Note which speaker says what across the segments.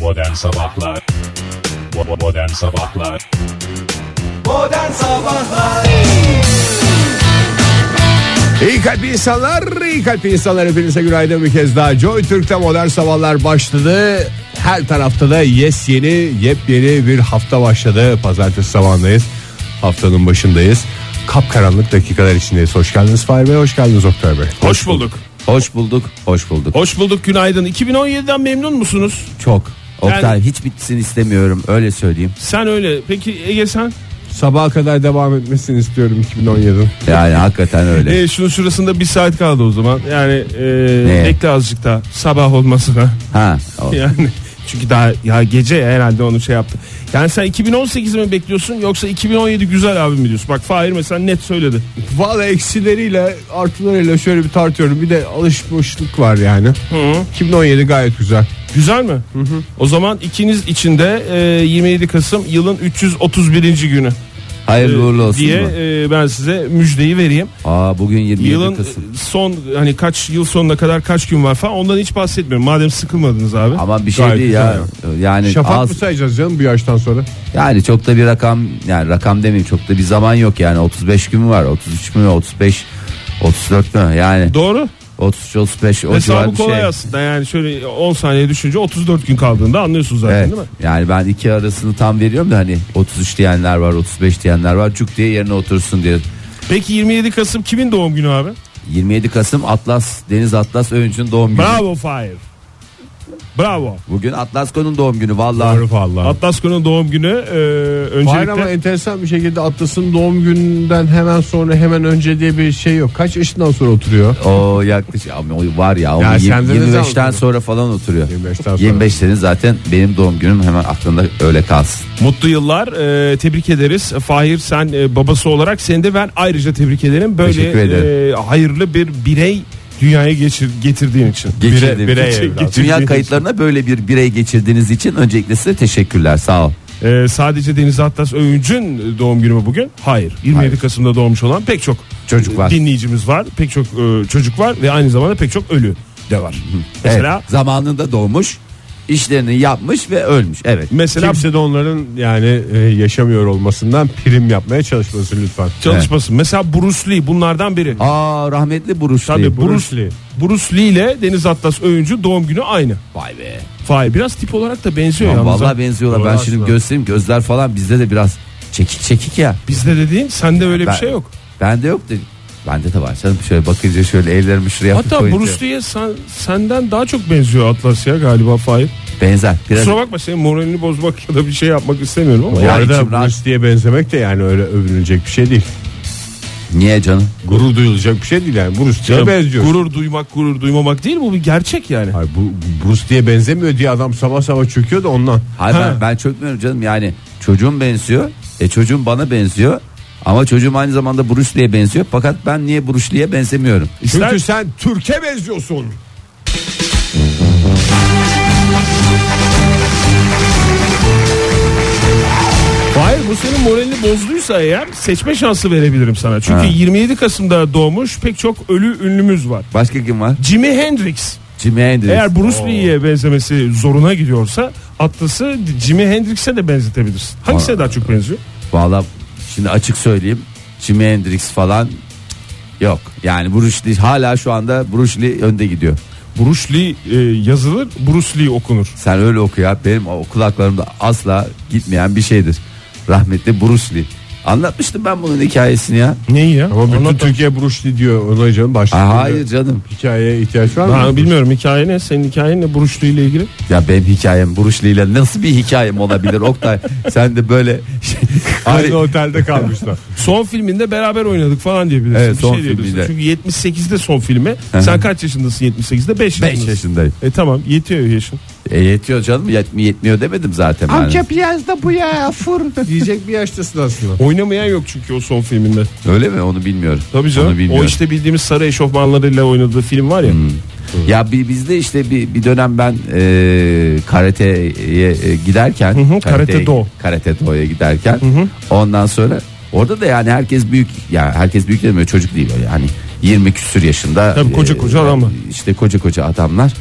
Speaker 1: Modern Sabahlar Bo- Modern Sabahlar
Speaker 2: Modern Sabahlar
Speaker 3: İyi kalp insanlar, iyi kalp insanlar hepinize günaydın bir kez daha. Joy Türk'te modern sabahlar başladı. Her tarafta da yes yeni, yepyeni bir hafta başladı. Pazartesi sabahındayız. Haftanın başındayız. Kapkaranlık dakikalar içindeyiz. Hoş geldiniz Fahir Bey, hoş geldiniz Oktay Bey.
Speaker 4: Hoş bulduk.
Speaker 5: Hoş bulduk, hoş bulduk.
Speaker 4: Hoş bulduk günaydın. 2017'den memnun musunuz?
Speaker 5: Çok. Oktay hiç bitsin istemiyorum öyle söyleyeyim.
Speaker 4: Sen öyle. Peki Ege sen?
Speaker 3: Sabaha kadar devam etmesini istiyorum 2017'nin.
Speaker 5: Yani hakikaten öyle.
Speaker 4: Ee, şunun şurasında bir saat kaldı o zaman. Yani e,
Speaker 5: Ne?
Speaker 4: bekle azıcık daha sabah olmasına.
Speaker 5: ha. o-
Speaker 4: Yani çünkü daha ya gece herhalde onu şey yaptı. Yani sen 2018 mi bekliyorsun yoksa 2017 güzel abi mi diyorsun? Bak Fahir mesela net söyledi.
Speaker 3: Valla eksileriyle artılarıyla şöyle bir tartıyorum. Bir de alışmışlık var yani. 2017 gayet güzel.
Speaker 4: Güzel mi? O zaman ikiniz içinde 27 Kasım yılın 331. günü
Speaker 5: Hayırlı uğurlu olsun.
Speaker 4: diye
Speaker 5: mu?
Speaker 4: e, ben size müjdeyi vereyim.
Speaker 5: Aa bugün 27
Speaker 4: Yılın
Speaker 5: Kasım.
Speaker 4: e, son hani kaç yıl sonuna kadar kaç gün var falan ondan hiç bahsetmiyorum. Madem sıkılmadınız abi.
Speaker 5: Ama bir şey
Speaker 4: Gayet
Speaker 5: değil ya. Yani
Speaker 3: Şafak
Speaker 5: az,
Speaker 3: mı sayacağız canım bu yaştan sonra?
Speaker 5: yani çok da bir rakam yani rakam demeyeyim çok da bir zaman yok yani 35 gün mü var? 33 mü? 35 34 mü? Yani
Speaker 4: Doğru.
Speaker 5: 33 35 o civar
Speaker 4: Hesabı
Speaker 5: bir şey.
Speaker 4: kolay aslında yani şöyle 10 saniye düşünce 34 gün kaldığında anlıyorsunuz zaten
Speaker 5: Evet.
Speaker 4: değil mi?
Speaker 5: Yani ben iki arasını tam veriyorum da hani 33 diyenler var, 35 diyenler var. Cuk diye yerine otursun diye
Speaker 4: Peki 27 Kasım kimin doğum günü abi?
Speaker 5: 27 Kasım Atlas Deniz Atlas Öğünç'ün doğum günü.
Speaker 4: Bravo Fahir. Bravo.
Speaker 5: Bugün Atlasko'nun doğum günü vallahi.
Speaker 3: Doğru vallahi.
Speaker 4: Atlasko'nun doğum günü e,
Speaker 3: Hayır ama
Speaker 4: öncelikle
Speaker 3: enteresan bir şekilde Atlas'ın doğum gününden hemen sonra hemen önce diye bir şey yok. Kaç yaşından sonra oturuyor?
Speaker 5: O yaklaşık ama o var ya,
Speaker 3: Ya
Speaker 5: ya
Speaker 3: sen de ne zaman
Speaker 5: 25'ten
Speaker 3: oturuyor?
Speaker 5: sonra falan oturuyor.
Speaker 3: 25'ten sonra.
Speaker 5: 25 senin zaten benim doğum günüm hemen aklında öyle kalsın.
Speaker 4: mutlu yıllar e, tebrik ederiz. Fahir sen e, babası olarak seni de ben ayrıca tebrik ederim.
Speaker 5: Teşekkür
Speaker 4: Böyle
Speaker 5: ederim.
Speaker 4: e, hayırlı bir birey dünyaya geçir, getirdiğin için.
Speaker 5: Geçirdiğim
Speaker 4: Bire- birey
Speaker 5: için-
Speaker 4: evlat.
Speaker 5: Dünya kayıtlarına böyle bir birey geçirdiğiniz için öncelikle size teşekkürler. Sağ ol.
Speaker 4: Ee, sadece Deniz Atlas Övünç'ün doğum günü mü bugün? Hayır. 27
Speaker 5: Hayır.
Speaker 4: Kasım'da doğmuş olan pek çok
Speaker 5: Çocuk var.
Speaker 4: dinleyicimiz var. Pek çok e, çocuk var ve aynı zamanda pek çok ölü de var. Mesela
Speaker 5: Evet, zamanında doğmuş, işlerini yapmış ve ölmüş. Evet.
Speaker 4: mesela
Speaker 3: Kimse de onların yani e, yaşamıyor olmasından prim yapmaya çalışmasın lütfen.
Speaker 4: çalışmasın. Mesela Bruce Lee bunlardan biri.
Speaker 5: Aa rahmetli Buruş.
Speaker 4: Tabii Bruce Lee. Bruce Lee ile Deniz Atlas Övüncü doğum günü aynı.
Speaker 5: Vay be.
Speaker 4: Fahir biraz tip olarak da benziyor
Speaker 5: Ama
Speaker 4: yalnız.
Speaker 5: vallahi
Speaker 4: ha.
Speaker 5: benziyorlar. Ben
Speaker 3: Doğru
Speaker 5: şimdi
Speaker 3: aslında.
Speaker 5: göstereyim gözler falan bizde de biraz çekik çekik ya.
Speaker 4: Bizde dediğin sende öyle bir şey yok.
Speaker 5: Bende yok da bende de var canım. Şöyle bakınca şöyle ellerimi şuraya hafif
Speaker 4: Hatta
Speaker 5: koyunca.
Speaker 4: Bruce Lee'ye sen- senden daha çok benziyor Atlas ya galiba Fahir.
Speaker 5: benzer. Biraz
Speaker 4: Kusura bakma senin moralini bozmak ya da bir şey yapmak istemiyorum ama.
Speaker 3: Bu
Speaker 5: Ya
Speaker 3: arada
Speaker 5: içim rahat.
Speaker 3: Bruce diye benzemek de yani öyle övünülecek bir şey değil.
Speaker 5: niye canım?
Speaker 3: Gurur duyulacak bir şey değil yani. Bruce diye
Speaker 4: Canım,
Speaker 3: benziyor.
Speaker 4: Gurur duymak gurur duymamak değil bu bir gerçek yani.
Speaker 3: Hayır, bu Bruce diye benzemiyor diye adam sabah sabah çöküyor da ondan.
Speaker 5: Hayır ben, ben çökmüyorum canım. Yani çocuğum benziyor. E çocuğum bana benziyor. Ama çocuğum aynı zamanda Bruce Lee'ye benziyor. Fakat ben niye Bruce Lee'ye benzemiyorum?
Speaker 3: Çünkü
Speaker 4: İster-
Speaker 3: sen Türk'e benziyorsun.
Speaker 4: Hayır bu senin moralini bozduysa eğer seçme şansı verebilirim sana. Çünkü
Speaker 5: Ha.
Speaker 4: 27 Kasım'da doğmuş pek çok ölü ünlümüz var.
Speaker 5: Başka kim var?
Speaker 4: Jimi Hendrix
Speaker 5: Jimi Hendrix.
Speaker 4: eğer Bruce Lee'ye benzemesi zoruna gidiyorsa Atlas'ı Jimi Hendrix'e de benzetebilirsin. Hangisine daha çok benziyor?
Speaker 5: Valla şimdi açık söyleyeyim. Jimi Hendrix falan cık, yok. Yani Bruce Lee hala şu anda Bruce Lee önde gidiyor.
Speaker 4: Bruce Lee e, yazılır, Bruce Lee okunur.
Speaker 5: Sen öyle oku ya. Benim o kulaklarımda asla gitmeyen bir şeydir. Rahmetli Bruce Lee. Anlatmıştım ben bunun hikayesini ya.
Speaker 4: Neyi ya?
Speaker 3: Ama bütün
Speaker 4: Anlat da-
Speaker 3: Türkiye Bruce Lee diyor. Ona canım başka
Speaker 5: Aa,
Speaker 3: türlü
Speaker 5: hayır canım.
Speaker 3: Hikayeye ihtiyaç var mı?
Speaker 4: Ha, bilmiyorum hikaye ne? Senin hikayen ne Bruce Lee ile ilgili?
Speaker 5: Ya benim hikayem Bruce Lee ile nasıl bir hikayem olabilir Oktay? Sen de böyle şey,
Speaker 3: Aynı
Speaker 5: Hayır,
Speaker 3: otelde kalmışlar.
Speaker 4: Son filminde beraber oynadık falan diyebilirsin.
Speaker 5: Evet,
Speaker 4: Bir
Speaker 5: son
Speaker 4: şey diyebilirsin. Çünkü 78'de son filmi.
Speaker 5: hı.
Speaker 4: Sen kaç yaşındasın 78'de? 5
Speaker 5: 5 yaşındayım.
Speaker 4: E tamam yetiyor yaşın.
Speaker 5: E, yetiyor canım yet- yetmiyor demedim zaten. ben.
Speaker 3: biraz da bu ya fır diyecek bir yaştasın aslında.
Speaker 4: Oynamayan yok çünkü o son filminde.
Speaker 5: Öyle mi onu bilmiyorum.
Speaker 4: Tabii canım.
Speaker 5: Onu bilmiyorum.
Speaker 4: O işte bildiğimiz sarı eşofmanlarıyla oynadığı film var ya.
Speaker 5: Ya bi- bizde işte bir, bir dönem ben e, karateye e, giderken
Speaker 4: hı, karate do.
Speaker 5: karate do'ya giderken ondan sonra orada da yani herkes büyük ya herkes büyük demiyor çocuk değil yani 20 Hani küsür yaşında
Speaker 4: Tabii koca koca adamlar.
Speaker 5: işte koca koca adamlar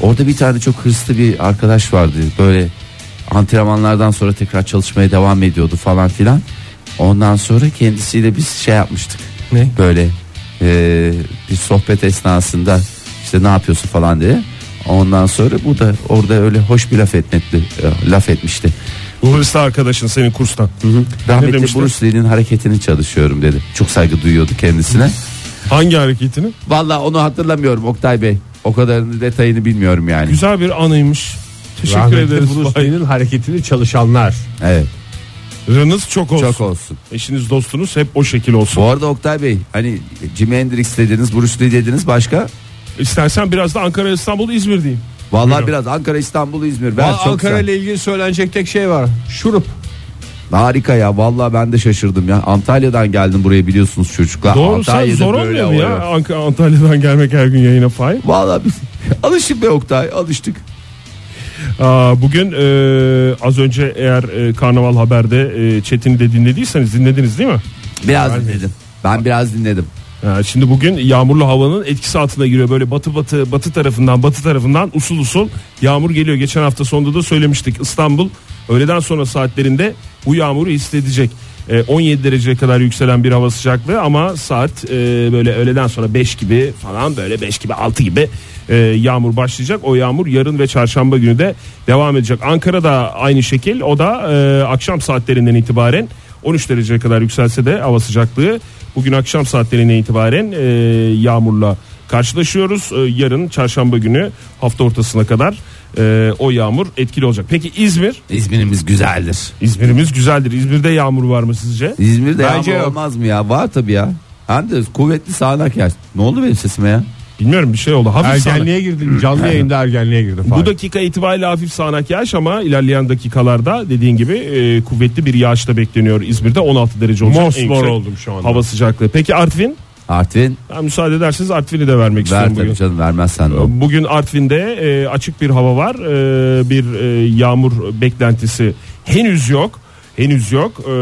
Speaker 5: Orada bir tane çok hırslı bir arkadaş vardı. Böyle antrenmanlardan sonra tekrar çalışmaya devam ediyordu falan filan. Ondan sonra kendisiyle biz şey yapmıştık.
Speaker 4: Ne?
Speaker 5: Böyle e, bir sohbet esnasında işte ne yapıyorsun falan diye. Ondan sonra bu da orada öyle hoş bir laf etmekti, e, laf etmişti.
Speaker 4: Bu hırslı arkadaşın senin kurstan. Ne
Speaker 5: Rahmetli
Speaker 4: demişti?
Speaker 5: Bruce Lee'nin hareketini çalışıyorum dedi. Çok saygı duyuyordu kendisine.
Speaker 4: Hangi hareketini?
Speaker 5: Vallahi onu hatırlamıyorum Oktay Bey. O kadarını detayını bilmiyorum yani.
Speaker 4: Güzel bir anıymış. Teşekkür ederiz.
Speaker 3: Bruce Lee'nin hareketini çalışanlar.
Speaker 5: Evet,
Speaker 4: Rınız çok olsun.
Speaker 5: çok olsun.
Speaker 4: Eşiniz dostunuz hep o şekil olsun.
Speaker 5: Bu arada Oktay Bey hani Jimi Hendrix dediniz, Bruce Lee dediniz başka?
Speaker 4: İstersen biraz da Ankara, İstanbul, İzmir diyeyim.
Speaker 5: Vallahi
Speaker 4: Buyurun.
Speaker 5: biraz Ankara, İstanbul, İzmir. Ben
Speaker 3: Aa,
Speaker 5: çok
Speaker 3: Ankara ile ilgili söylenecek tek şey var. Şurup.
Speaker 5: Harika ya. Vallahi ben de şaşırdım ya. Antalya'dan geldim buraya biliyorsunuz çocuklar.
Speaker 4: Doğru sen
Speaker 5: Antalya'da
Speaker 4: zor
Speaker 5: böyle
Speaker 4: olmuyor mu ya
Speaker 5: oluyor.
Speaker 4: Ank- Antalya'dan gelmek her gün yayına fay.
Speaker 5: Vallahi biz alıştık be Oktay, alıştık.
Speaker 4: Aa, bugün e, az önce eğer e, Karnaval Haber'de e, Çetin'i de dinlediyseniz dinlediniz değil mi?
Speaker 5: Biraz dinledim. Ben biraz dinledim.
Speaker 4: Ha, Ee, şimdi bugün yağmurlu havanın etkisi altına giriyor. Böyle batı batı batı tarafından batı tarafından usul usul yağmur geliyor. Geçen hafta sonunda da söylemiştik İstanbul öğleden sonra saatlerinde bu yağmuru hissedecek. E, 17 dereceye kadar yükselen bir hava sıcaklığı ama saat e, böyle öğleden sonra 5 gibi falan böyle 5 gibi 6 gibi e, yağmur başlayacak. O yağmur yarın ve çarşamba günü de devam edecek. Ankara'da aynı şekil o da e, akşam saatlerinden itibaren 13 dereceye kadar yükselse de hava sıcaklığı bugün akşam saatlerine itibaren e, yağmurla karşılaşıyoruz. E, yarın çarşamba günü hafta ortasına kadar e, o yağmur etkili olacak. Peki İzmir?
Speaker 5: İzmir'imiz güzeldir.
Speaker 4: İzmir'imiz güzeldir. İzmir'de yağmur var mı sizce?
Speaker 5: İzmir'de
Speaker 3: Bence
Speaker 5: yağmur
Speaker 3: yok.
Speaker 5: olmaz mı ya? Var tabii ya. Hem de kuvvetli sağanak yer. Ne oldu benim sesime ya?
Speaker 4: Bilmiyorum bir şey oldu. Hafif sağanak.
Speaker 3: Ergenliğe girdim. Canlı yayında ergenliğe girdim.
Speaker 4: Bu dakika itibariyle hafif sağanak yağış ama ilerleyen dakikalarda dediğin gibi e, kuvvetli bir yağış da bekleniyor İzmir'de 16 derece olacak. en
Speaker 3: Mosmor
Speaker 4: yüksek
Speaker 3: oldum şu anda.
Speaker 4: Hava sıcaklığı. Peki Artvin?
Speaker 5: Artvin
Speaker 4: Ben müsaade ederseniz Artvin'i de vermek
Speaker 5: ver
Speaker 4: istiyorum bugün.
Speaker 5: tabii canım vermezsen de. olur.
Speaker 4: Bugün Artvin'de e, açık bir hava var. E, bir e, yağmur beklentisi henüz yok. Henüz yok. E,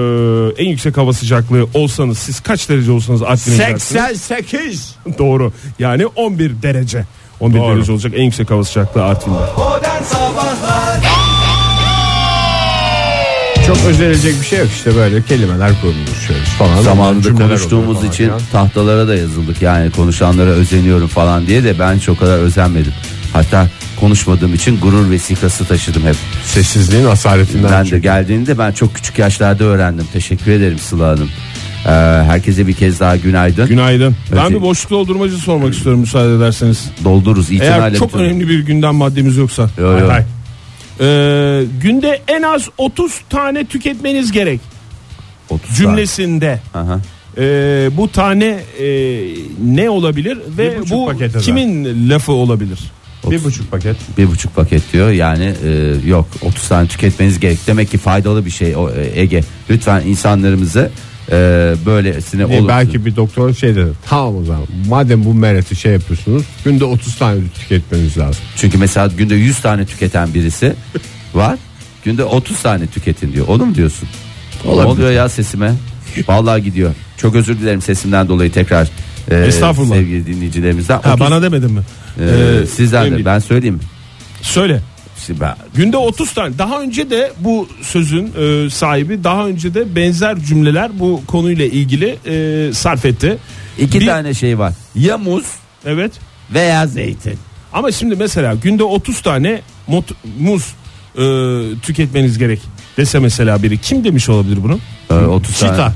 Speaker 4: en yüksek hava sıcaklığı olsanız siz kaç derece olsanız Artvin'e gidersiniz?
Speaker 3: 88.
Speaker 4: Doğru. Yani 11 derece. 11 derece olacak en yüksek hava sıcaklığı Artvin'de.
Speaker 2: Modern Sabahlar
Speaker 3: Çok özenilecek bir şey yok işte böyle kelimeler konuşuyoruz falan.
Speaker 5: Zamanında
Speaker 3: Cümleler oluyor
Speaker 5: konuştuğumuz
Speaker 3: falan
Speaker 5: için
Speaker 3: filan.
Speaker 5: tahtalara da yazıldık. Yani konuşanlara özeniyorum falan diye de ben çok kadar özenmedim. Hatta konuşmadığım için gurur vesikası taşıdım hep.
Speaker 3: Sessizliğin hasaretinden.
Speaker 5: Ben de
Speaker 3: çünkü.
Speaker 5: geldiğinde ben çok küçük yaşlarda öğrendim. Teşekkür ederim Sıla Hanım. Ee, herkese bir kez daha günaydın.
Speaker 4: Günaydın. Ben
Speaker 5: Öte-
Speaker 4: bir boşluk doldurmacı sormak istiyorum müsaade ederseniz.
Speaker 5: Doldururuz itinayla.
Speaker 4: Eğer çok
Speaker 5: bütün-
Speaker 4: önemli bir gündem maddemiz yoksa.
Speaker 5: Yo, yo.
Speaker 4: Hay hay. E, günde en az 30 tane tüketmeniz gerek
Speaker 5: 30 saat.
Speaker 4: cümlesinde.
Speaker 5: Aha.
Speaker 4: Ee, bu tane e, ne olabilir
Speaker 3: Bir
Speaker 4: ve
Speaker 3: buçuk
Speaker 4: bu
Speaker 3: paket eder.
Speaker 4: kimin lafı olabilir?
Speaker 3: Bir buçuk paket. E,
Speaker 5: Bir buçuk paket diyor yani e, yok 30 tane tüketmeniz gerek demek ki faydalı bir şey o, e, Ege lütfen insanlarımızı e, böylesine olur.
Speaker 3: Belki bir doktor şey dedi. Tamam o zaman. Madem bu mereti şey yapıyorsunuz. Günde 30 tane tüketmeniz lazım.
Speaker 5: Çünkü mesela günde 100 tane tüketen birisi var. Günde 30 tane tüketin diyor. Onu mu diyorsun? Ne oluyor ya sesime? Vallahi gidiyor. Çok özür dilerim sesimden dolayı tekrar e,
Speaker 4: Estağfurullah.
Speaker 5: sevgili dinleyicilerimizden.
Speaker 4: Ha,
Speaker 5: 30
Speaker 4: bana demedin mi?
Speaker 5: Ee,
Speaker 4: Ee,
Speaker 5: sizden
Speaker 4: önemli
Speaker 5: de
Speaker 4: değil.
Speaker 5: ben söyleyeyim mi?
Speaker 4: Söyle.
Speaker 5: Şimdi ben-
Speaker 4: Günde 30 tane. Daha önce de bu sözün e, sahibi daha önce de benzer cümleler bu konuyla ilgili e, sarf etti.
Speaker 5: iki
Speaker 4: Bir-
Speaker 5: tane şey var. Ya muz
Speaker 4: Evet.
Speaker 5: veya zeytin.
Speaker 4: Ama şimdi mesela günde 30 tane mot- muz e, tüketmeniz gerek dese mesela biri kim demiş olabilir bunu?
Speaker 5: Ee, 30 tane.
Speaker 4: Çita.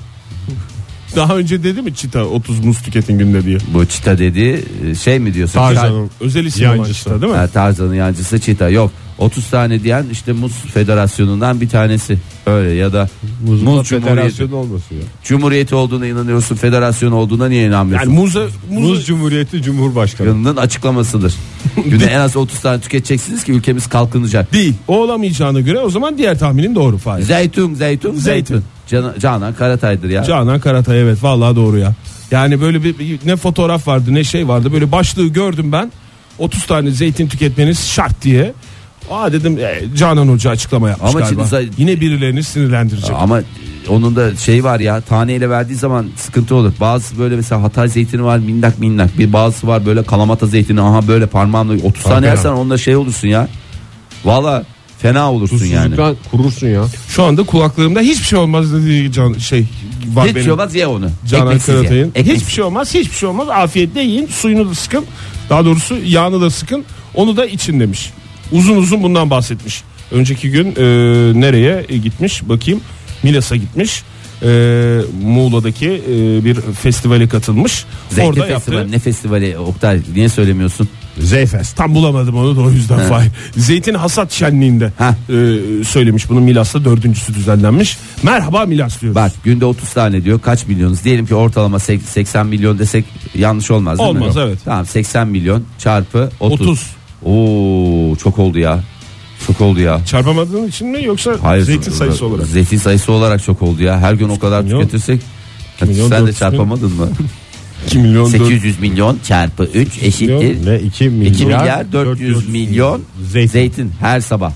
Speaker 4: Daha önce dedi mi çita 30 muz tüketin günde diye?
Speaker 5: Bu çita dediği e, şey mi diyorsun?
Speaker 4: Tarzan'ın özel isim olan
Speaker 3: yancısı.
Speaker 4: çita değil mi?
Speaker 5: Ha, Tarzan'ın yancısı çita. Yok 30 tane diyen işte muz federasyonu'ndan bir tanesi. Öyle ya da muz,
Speaker 3: Muzla
Speaker 5: cumhuriyeti.
Speaker 3: federasyon olmasın ya.
Speaker 5: Cumhuriyeti olduğuna inanıyorsun, federasyon olduğuna niye
Speaker 4: Yani
Speaker 5: inanmıyorsun?
Speaker 4: muza, muz,
Speaker 3: Muz Cumhuriyeti Cumhurbaşkanı.
Speaker 5: Yılının açıklamasıdır. Günde en az 30 tane tüketeceksiniz ki ülkemiz kalkınacak.
Speaker 4: değil. O olamayacağına göre o zaman diğer tahminin doğru Fahir.
Speaker 5: Zeytun, zeytun, zeytun.
Speaker 4: Zeytun.
Speaker 5: Can- Canan Karatay'dır ya.
Speaker 4: Canan Karatay evet vallahi doğru ya. Yani böyle bir- bir ne fotoğraf vardı ne şey vardı böyle başlığı gördüm ben. 30 tane zeytin tüketmeniz şart diye. Aa dedim e, Canan Hoca açıklama yapmış
Speaker 5: Ama
Speaker 4: galiba.
Speaker 5: şimdi zey-
Speaker 4: Yine birilerini sinirlendirecek.
Speaker 5: Ama onun da şey var ya taneyle verdiği zaman sıkıntı olur. Bazı böyle mesela Hatay zeytini var minnak minnak. Bir bazısı var böyle kalamata zeytini. Aha böyle parmağımla 30 tane
Speaker 4: ya.
Speaker 5: yersen onunla şey olursun ya. Valla fena olursun yani.
Speaker 6: Susuzluktan kurursun ya.
Speaker 4: Şu anda kulaklarımda hiçbir şey olmaz dediği can, şey var
Speaker 5: Hiç
Speaker 4: benim.
Speaker 5: şey olmaz ye onu.
Speaker 4: Canan
Speaker 5: Ekmeksiz ye.
Speaker 4: Karatay'ın.
Speaker 5: Ekmeksiz.
Speaker 4: Hiçbir şey olmaz, hiçbir şey olmaz. Afiyetle yiyin, suyunu da sıkın. Daha doğrusu yağını da sıkın. Onu da için demiş. Uzun uzun bundan bahsetmiş. Önceki gün e, nereye gitmiş? Bakayım. Milas'a gitmiş. E, Muğla'daki e, bir festivale katılmış.
Speaker 5: Zeytin
Speaker 4: Orada
Speaker 5: festivali
Speaker 4: yaptığı...
Speaker 5: ne festivali Oktay niye söylemiyorsun?
Speaker 4: Zeyfest. Tam bulamadım onu da o yüzden fay. Zeytin hasat şenliğinde
Speaker 5: Ha.
Speaker 4: e, söylemiş. Bunun Milas'ta dördüncüsü düzenlenmiş. Merhaba Milas diyoruz.
Speaker 5: Bak günde 30 tane diyor kaç milyonuz? Diyelim ki ortalama sek- 80 milyon desek yanlış olmaz değil mi?
Speaker 4: Olmaz, evet.
Speaker 5: Tamam 80 milyon çarpı 30.
Speaker 4: 30.
Speaker 5: Oo çok oldu ya. Çok oldu ya.
Speaker 4: Çarpamadığın için mi yoksa
Speaker 5: Hayır.
Speaker 4: zeytin
Speaker 5: z-
Speaker 4: sayısı olarak?
Speaker 5: Zeytin sayısı olarak çok oldu ya. Her gün o kadar
Speaker 4: milyon.
Speaker 5: tüketirsek Ya
Speaker 4: milyon,
Speaker 5: sen de
Speaker 4: 400
Speaker 5: çarpamadın mı?
Speaker 4: 2 milyon
Speaker 5: 800 milyon çarpı 3 eşittir
Speaker 6: Ve 2 milyar,
Speaker 5: 2 milyar 400 milyon zeytin. her sabah.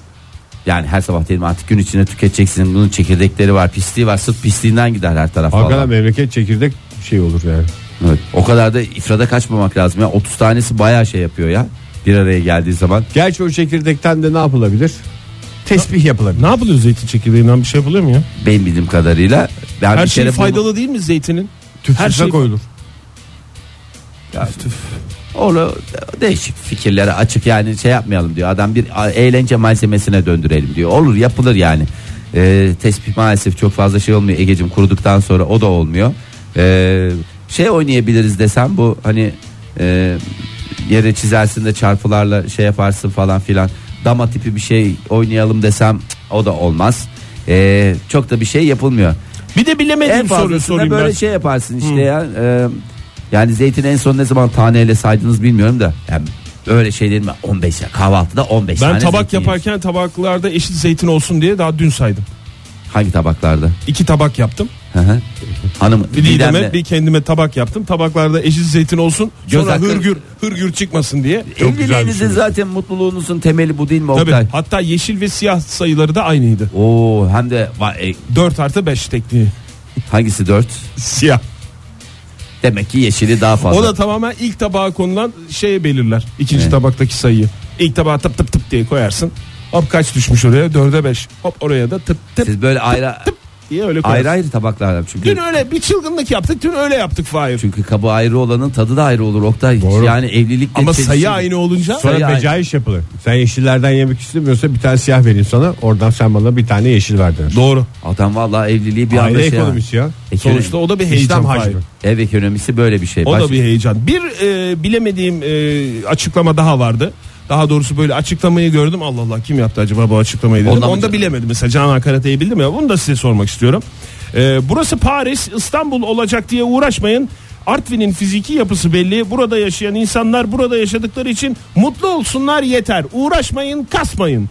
Speaker 5: Yani her sabah dedim artık gün içinde tüketeceksin. Bunun çekirdekleri var, pisliği var. Sırf pisliğinden gider her taraf.
Speaker 6: Hakikaten
Speaker 5: vallahi.
Speaker 6: memleket çekirdek şey olur yani.
Speaker 5: Evet. O kadar da ifrada kaçmamak lazım ya. 30 tanesi bayağı şey yapıyor ya. Bir araya geldiği zaman.
Speaker 6: Gerçi o çekirdekten de ne yapılabilir? Tesbih yapılabilir.
Speaker 4: Ne yapılıyor zeytin çekirdeğinden bir şey yapılıyor mu ya?
Speaker 5: Benim bildiğim kadarıyla ben
Speaker 4: Her
Speaker 5: bir
Speaker 4: şey
Speaker 5: kere bunu-
Speaker 4: faydalı değil mi zeytinin?
Speaker 6: Tüpsüze
Speaker 4: Her şey
Speaker 6: koyulur.
Speaker 5: Onu değişik fikirlere açık yani şey yapmayalım diyor. Adam bir a- eğlence malzemesine döndürelim diyor. Olur yapılır yani. Ee, tespih maalesef çok fazla şey olmuyor. Egecim kuruduktan sonra o da olmuyor. Ee, şey oynayabiliriz desem bu hani e, yere çizersin de çarpılarla şey yaparsın falan filan. Dama tipi bir şey oynayalım desem cık, o da olmaz. Ee, çok da bir şey yapılmıyor.
Speaker 4: Bir de bilemediğim
Speaker 5: En
Speaker 4: soruyu
Speaker 5: fazlasında
Speaker 4: sorayım
Speaker 5: böyle
Speaker 4: ben.
Speaker 5: şey yaparsın işte ya. e, yani zeytin en son ne zaman taneyle saydınız bilmiyorum da. Yani öyle şey değil mi? 15 ya kahvaltıda 15
Speaker 4: Ben
Speaker 5: tane
Speaker 4: tabak
Speaker 5: zeytin yiyorsun.
Speaker 4: yaparken tabaklarda eşit zeytin olsun diye daha dün saydım.
Speaker 5: Hangi tabaklarda?
Speaker 4: İki tabak yaptım.
Speaker 5: Hı hı. Hanım
Speaker 4: Bir Didem'e
Speaker 5: Didem'le-
Speaker 4: bir kendime tabak yaptım. Tabaklarda eşit zeytin olsun.
Speaker 5: Göz
Speaker 4: sonra
Speaker 5: hakkı-
Speaker 4: hırgür hırgür çıkmasın diye.
Speaker 5: Evliliğinizde zaten mutluluğunuzun temeli bu değil mi
Speaker 4: şey Tabii.
Speaker 5: Oktay?
Speaker 4: Hatta yeşil ve siyah sayıları da aynıydı.
Speaker 5: Oo hem de va- e,
Speaker 4: 4 artı 5 tekniği.
Speaker 5: hangisi 4?
Speaker 4: Siyah.
Speaker 5: Demek ki yeşili daha fazla.
Speaker 4: O da tamamen ilk tabağa konulan şeye belirler. İkinci
Speaker 5: Evet.
Speaker 4: tabaktaki sayıyı. İlk tabağa tıp tıp tıp diye koyarsın. Hop kaç düşmüş oraya? Dörde beş. Hop oraya da tıp tıp
Speaker 5: Siz böyle ayrı
Speaker 4: diye öyle koyarsın.
Speaker 5: ayrı ayrı tabaklarda çünkü.
Speaker 4: Dün öyle bir çılgınlık yaptık. Dün öyle yaptık Fahir.
Speaker 5: Çünkü kabı ayrı olanın tadı da ayrı olur Oktay. Yani evlilik
Speaker 4: Ama sayı aynı olunca
Speaker 5: Sonra
Speaker 6: Sonra
Speaker 5: Yani.
Speaker 6: becaiş yapılır. Sen yeşillerden yemek istemiyorsa bir tane siyah vereyim sana. Oradan sen bana bir tane yeşil ver der.
Speaker 4: Doğru.
Speaker 5: Adam vallahi evliliği bir anda
Speaker 6: Aile
Speaker 5: şey yapar.
Speaker 6: ekonomisi ya.
Speaker 5: Ekonomi-
Speaker 4: Sonuçta o da bir heyecan
Speaker 6: İslam
Speaker 4: Fahir.
Speaker 6: hacmi.
Speaker 5: Ev ekonomisi böyle bir şey.
Speaker 4: O
Speaker 5: Baş-
Speaker 4: da bir heyecan. Bir e, bilemediğim e, açıklama daha vardı. Daha doğrusu böyle açıklamayı gördüm. Allah Allah kim yaptı acaba bu açıklamayı dedim.
Speaker 5: Ondan mı
Speaker 4: Onu da
Speaker 5: canım?
Speaker 4: bilemedim. Mesela Canan Karatay'ı bildim ya. Bunu da size sormak istiyorum. E, burası Paris, İstanbul olacak diye uğraşmayın. Artvin'in fiziki yapısı belli. Burada yaşayan insanlar burada yaşadıkları için mutlu olsunlar yeter. Uğraşmayın, kasmayın.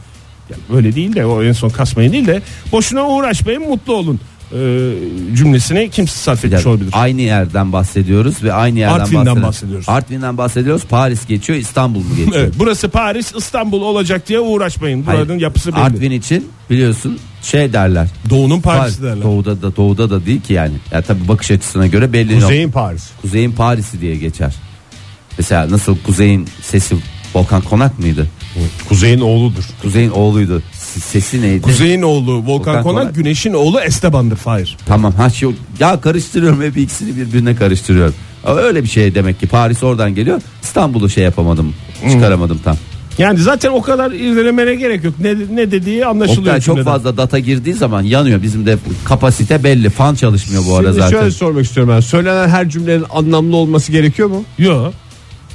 Speaker 4: Yani öyle değil de o en son kasmayın değil de boşuna uğraşmayın, mutlu olun. E, cümlesini kim sarf
Speaker 5: Bir
Speaker 4: etmiş
Speaker 5: dakika,
Speaker 4: şey olabilir?
Speaker 5: Aynı yerden bahsediyoruz ve aynı yerden
Speaker 4: Artvin'den
Speaker 5: bahsediyoruz.
Speaker 4: bahsediyoruz.
Speaker 5: Artvin'den bahsediyoruz. Paris geçiyor, İstanbul mu geçiyor?
Speaker 4: Evet, burası Paris, İstanbul olacak diye uğraşmayın.
Speaker 5: Hayır,
Speaker 4: Buranın yapısı belli.
Speaker 5: Artvin için biliyorsun şey derler.
Speaker 4: Doğu'nun Paris'i
Speaker 5: Par-
Speaker 4: derler.
Speaker 5: Doğuda da doğuda da değil ki yani. Ya tabii bakış açısına göre belli. yok.
Speaker 6: Kuzeyin Paris.
Speaker 5: Kuzeyin Paris'i diye geçer. Mesela nasıl kuzeyin sesi Volkan Konak mıydı?
Speaker 6: Kuzeyin oğludur.
Speaker 5: Kuzeyin oğluydu. S- Sesi neydi?
Speaker 4: Kuzey'in oğlu Volkan, Konak,
Speaker 5: Volkan Konak.
Speaker 4: Güneş'in oğlu Esteban'dır Fahir.
Speaker 5: Tamam ha şey ya karıştırıyorum hep ikisini birbirine karıştırıyorum. Ama öyle bir şey demek ki Paris oradan geliyor. İstanbul'u şey yapamadım. Çıkaramadım tam.
Speaker 4: Yani zaten o kadar irdelemene gerek yok. Ne, ne dediği anlaşılıyor.
Speaker 5: Oktay çok
Speaker 4: cümleden.
Speaker 5: fazla data girdiği zaman yanıyor. Bizim de kapasite belli. Fan çalışmıyor bu ara
Speaker 6: Şimdi
Speaker 5: zaten.
Speaker 6: şöyle sormak istiyorum ben. Söylenen her cümlenin anlamlı olması gerekiyor mu?
Speaker 4: Yo.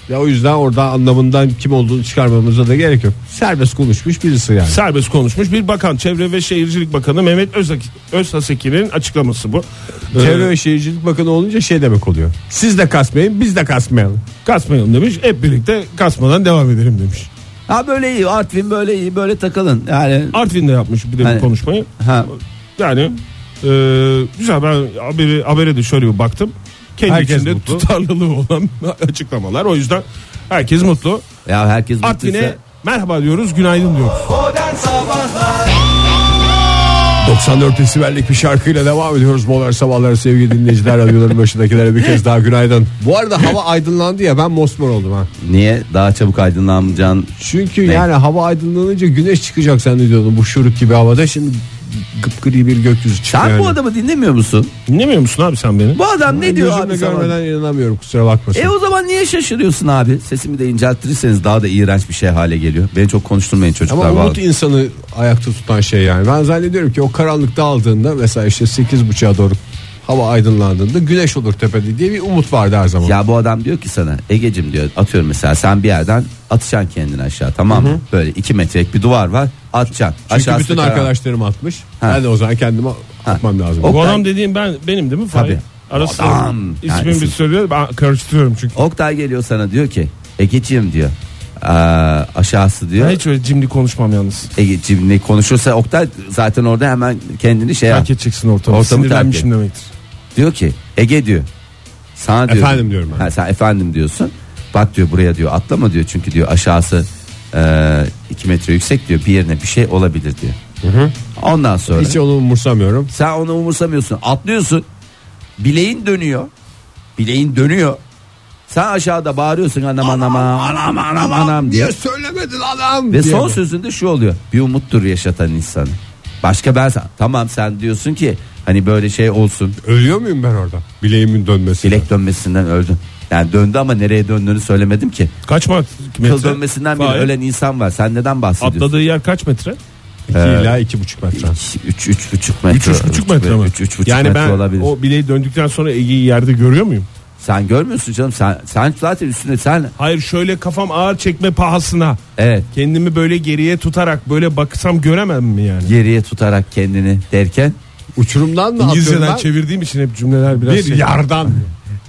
Speaker 6: Ya o yüzden orada anlamından kim olduğunu çıkarmamıza da gerek yok. Serbest konuşmuş birisi yani.
Speaker 4: Serbest konuşmuş bir bakan Çevre ve Şehircilik Bakanı Mehmet Özak- Özhaseki'nin açıklaması bu.
Speaker 6: Çevre
Speaker 4: Ee,
Speaker 6: ve Şehircilik Bakanı olunca şey demek oluyor. Siz de kasmayın biz de kasmayalım.
Speaker 4: kasmayalım demiş. Hep birlikte kasmadan devam edelim demiş.
Speaker 5: Ha böyle iyi. Artvin böyle iyi. Böyle takılın. Yani
Speaker 4: Artvin'de yapmış bir de
Speaker 5: Hani-
Speaker 4: bu konuşmayı.
Speaker 5: ha
Speaker 4: Yani e, güzel ben haberi, habere de şöyle bir baktım. Kendi
Speaker 6: Herkes
Speaker 4: içinde
Speaker 6: mutlu.
Speaker 4: tutarlılığı olan açıklamalar. O yüzden herkes mutlu.
Speaker 5: ya herkes
Speaker 4: Artvin'e
Speaker 5: mutluysa-
Speaker 4: merhaba diyoruz, günaydın diyoruz.
Speaker 2: Modern Sabahlar
Speaker 3: 94 esiberlik bir şarkıyla devam ediyoruz Modern Sabahlar sevgili dinleyiciler Radyoların başındakilere bir kez daha günaydın Bu arada hava aydınlandı ya ben mosmor oldum ha
Speaker 5: Niye? Daha çabuk aydınlanacağın
Speaker 3: Çünkü
Speaker 5: Ne?
Speaker 3: yani hava aydınlanınca güneş çıkacak sen ne diyordun bu şuruk gibi havada Şimdi gıpgri bir gökyüzü çıkıyor
Speaker 5: Sen
Speaker 3: yani.
Speaker 5: bu adamı dinlemiyor musun?
Speaker 4: Dinlemiyor musun abi sen beni?
Speaker 5: Bu adam ne diyor abi sana?
Speaker 3: görmeden inanamıyorum kusura bakmasın
Speaker 5: E o zaman niye şaşırıyorsun abi? Sesimi de inceltirseniz daha da iğrenç bir şey hale geliyor. Beni çok konuşturmayın çocuklar.
Speaker 3: Ama umut
Speaker 5: vallahi.
Speaker 3: insanı ayakta tutan şey yani. Ben zannediyorum ki o karanlık dağıldığında mesela işte 8.30'a doğru hava aydınlandığında güneş olur tepede diye bir umut vardı her zaman.
Speaker 5: Ya bu adam diyor ki sana Egecim diyor atıyorum mesela sen bir yerden atacaksın kendini aşağı tamam mı? Böyle iki metrelik bir duvar var atacaksın.
Speaker 3: Çünkü
Speaker 5: Aşağısı
Speaker 3: bütün
Speaker 5: karanlık.
Speaker 3: arkadaşlarım atmış.
Speaker 5: Ha.
Speaker 3: Ben de o zaman kendime atmam lazım.
Speaker 5: O-
Speaker 4: Bu
Speaker 5: Oktay-
Speaker 4: adam dediğim ben benim değil mi? Fahir?
Speaker 5: Tabii.
Speaker 4: Ara
Speaker 5: Bu
Speaker 4: sıra
Speaker 5: adam. Yani
Speaker 4: İsmimi bir
Speaker 5: isim.
Speaker 4: söylüyor ben karıştırıyorum çünkü.
Speaker 5: Oktay geliyor sana diyor ki Egeciğim diyor "Aa, aşağısı diyor.
Speaker 4: Ben hiç öyle cimri konuşmam yalnız.
Speaker 5: Egeciğim ne konuşursa Oktay zaten orada hemen kendini şey yap.
Speaker 4: Terk edeceksin ortamı.
Speaker 5: Ortamı terk
Speaker 4: Sinirlenmişim demektir.
Speaker 5: Diyor ki Ege diyor. Sana diyor.
Speaker 3: Efendim diyorum ben.
Speaker 5: Ha, sen efendim diyorsun. Bak diyor buraya diyor atlama diyor. Çünkü diyor aşağısı 2 metre yüksek diyor. Bir yerine bir şey olabilir diyor. Ondan sonra
Speaker 3: Hiç onu umursamıyorum.
Speaker 5: sen onu umursamıyorsun. Atlıyorsun. Bileğin dönüyor. Bileğin dönüyor. Sen aşağıda bağırıyorsun anam anam anam anam anam diye.
Speaker 3: Niye söylemedin adam?
Speaker 5: Ve
Speaker 3: diye
Speaker 5: son
Speaker 3: bu.
Speaker 5: sözünde şu oluyor. Bir umuttur yaşatan insanı. Başka ben tamam sen diyorsun ki hani böyle şey olsun.
Speaker 3: Ölüyor muyum ben orada? Bileğimin dönmesi.
Speaker 5: Bilek dönmesinden öldüm. Yani döndü ama nereye döndüğünü söylemedim ki.
Speaker 4: Kaç metre?
Speaker 5: Kıl dönmesinden bile
Speaker 4: Fahir,
Speaker 5: ölen insan var. Sen neden bahsediyorsun?
Speaker 4: Atladığı yer kaç metre?
Speaker 5: Ee,
Speaker 3: 2 ila 2,5 metre.
Speaker 5: 3 3 buçuk metre.
Speaker 4: 3 3,5 metre mi?
Speaker 5: 3 3,5
Speaker 4: yani
Speaker 5: metre
Speaker 4: ben
Speaker 5: olabilir.
Speaker 4: o bileği döndükten sonra Ege'yi yerde görüyor muyum?
Speaker 5: Sen görmüyorsun canım. Sen sen zaten üstünde sen
Speaker 4: Hayır şöyle kafam ağır çekme pahasına.
Speaker 5: evet
Speaker 4: Kendimi böyle geriye tutarak böyle baksam göremem mi yani?
Speaker 5: geriye tutarak kendini derken
Speaker 3: Uçurumdan mı atıyorum
Speaker 4: İngilizceden
Speaker 3: ben?
Speaker 4: çevirdiğim için hep cümleler biraz
Speaker 3: Bir
Speaker 4: şey.
Speaker 3: yardan.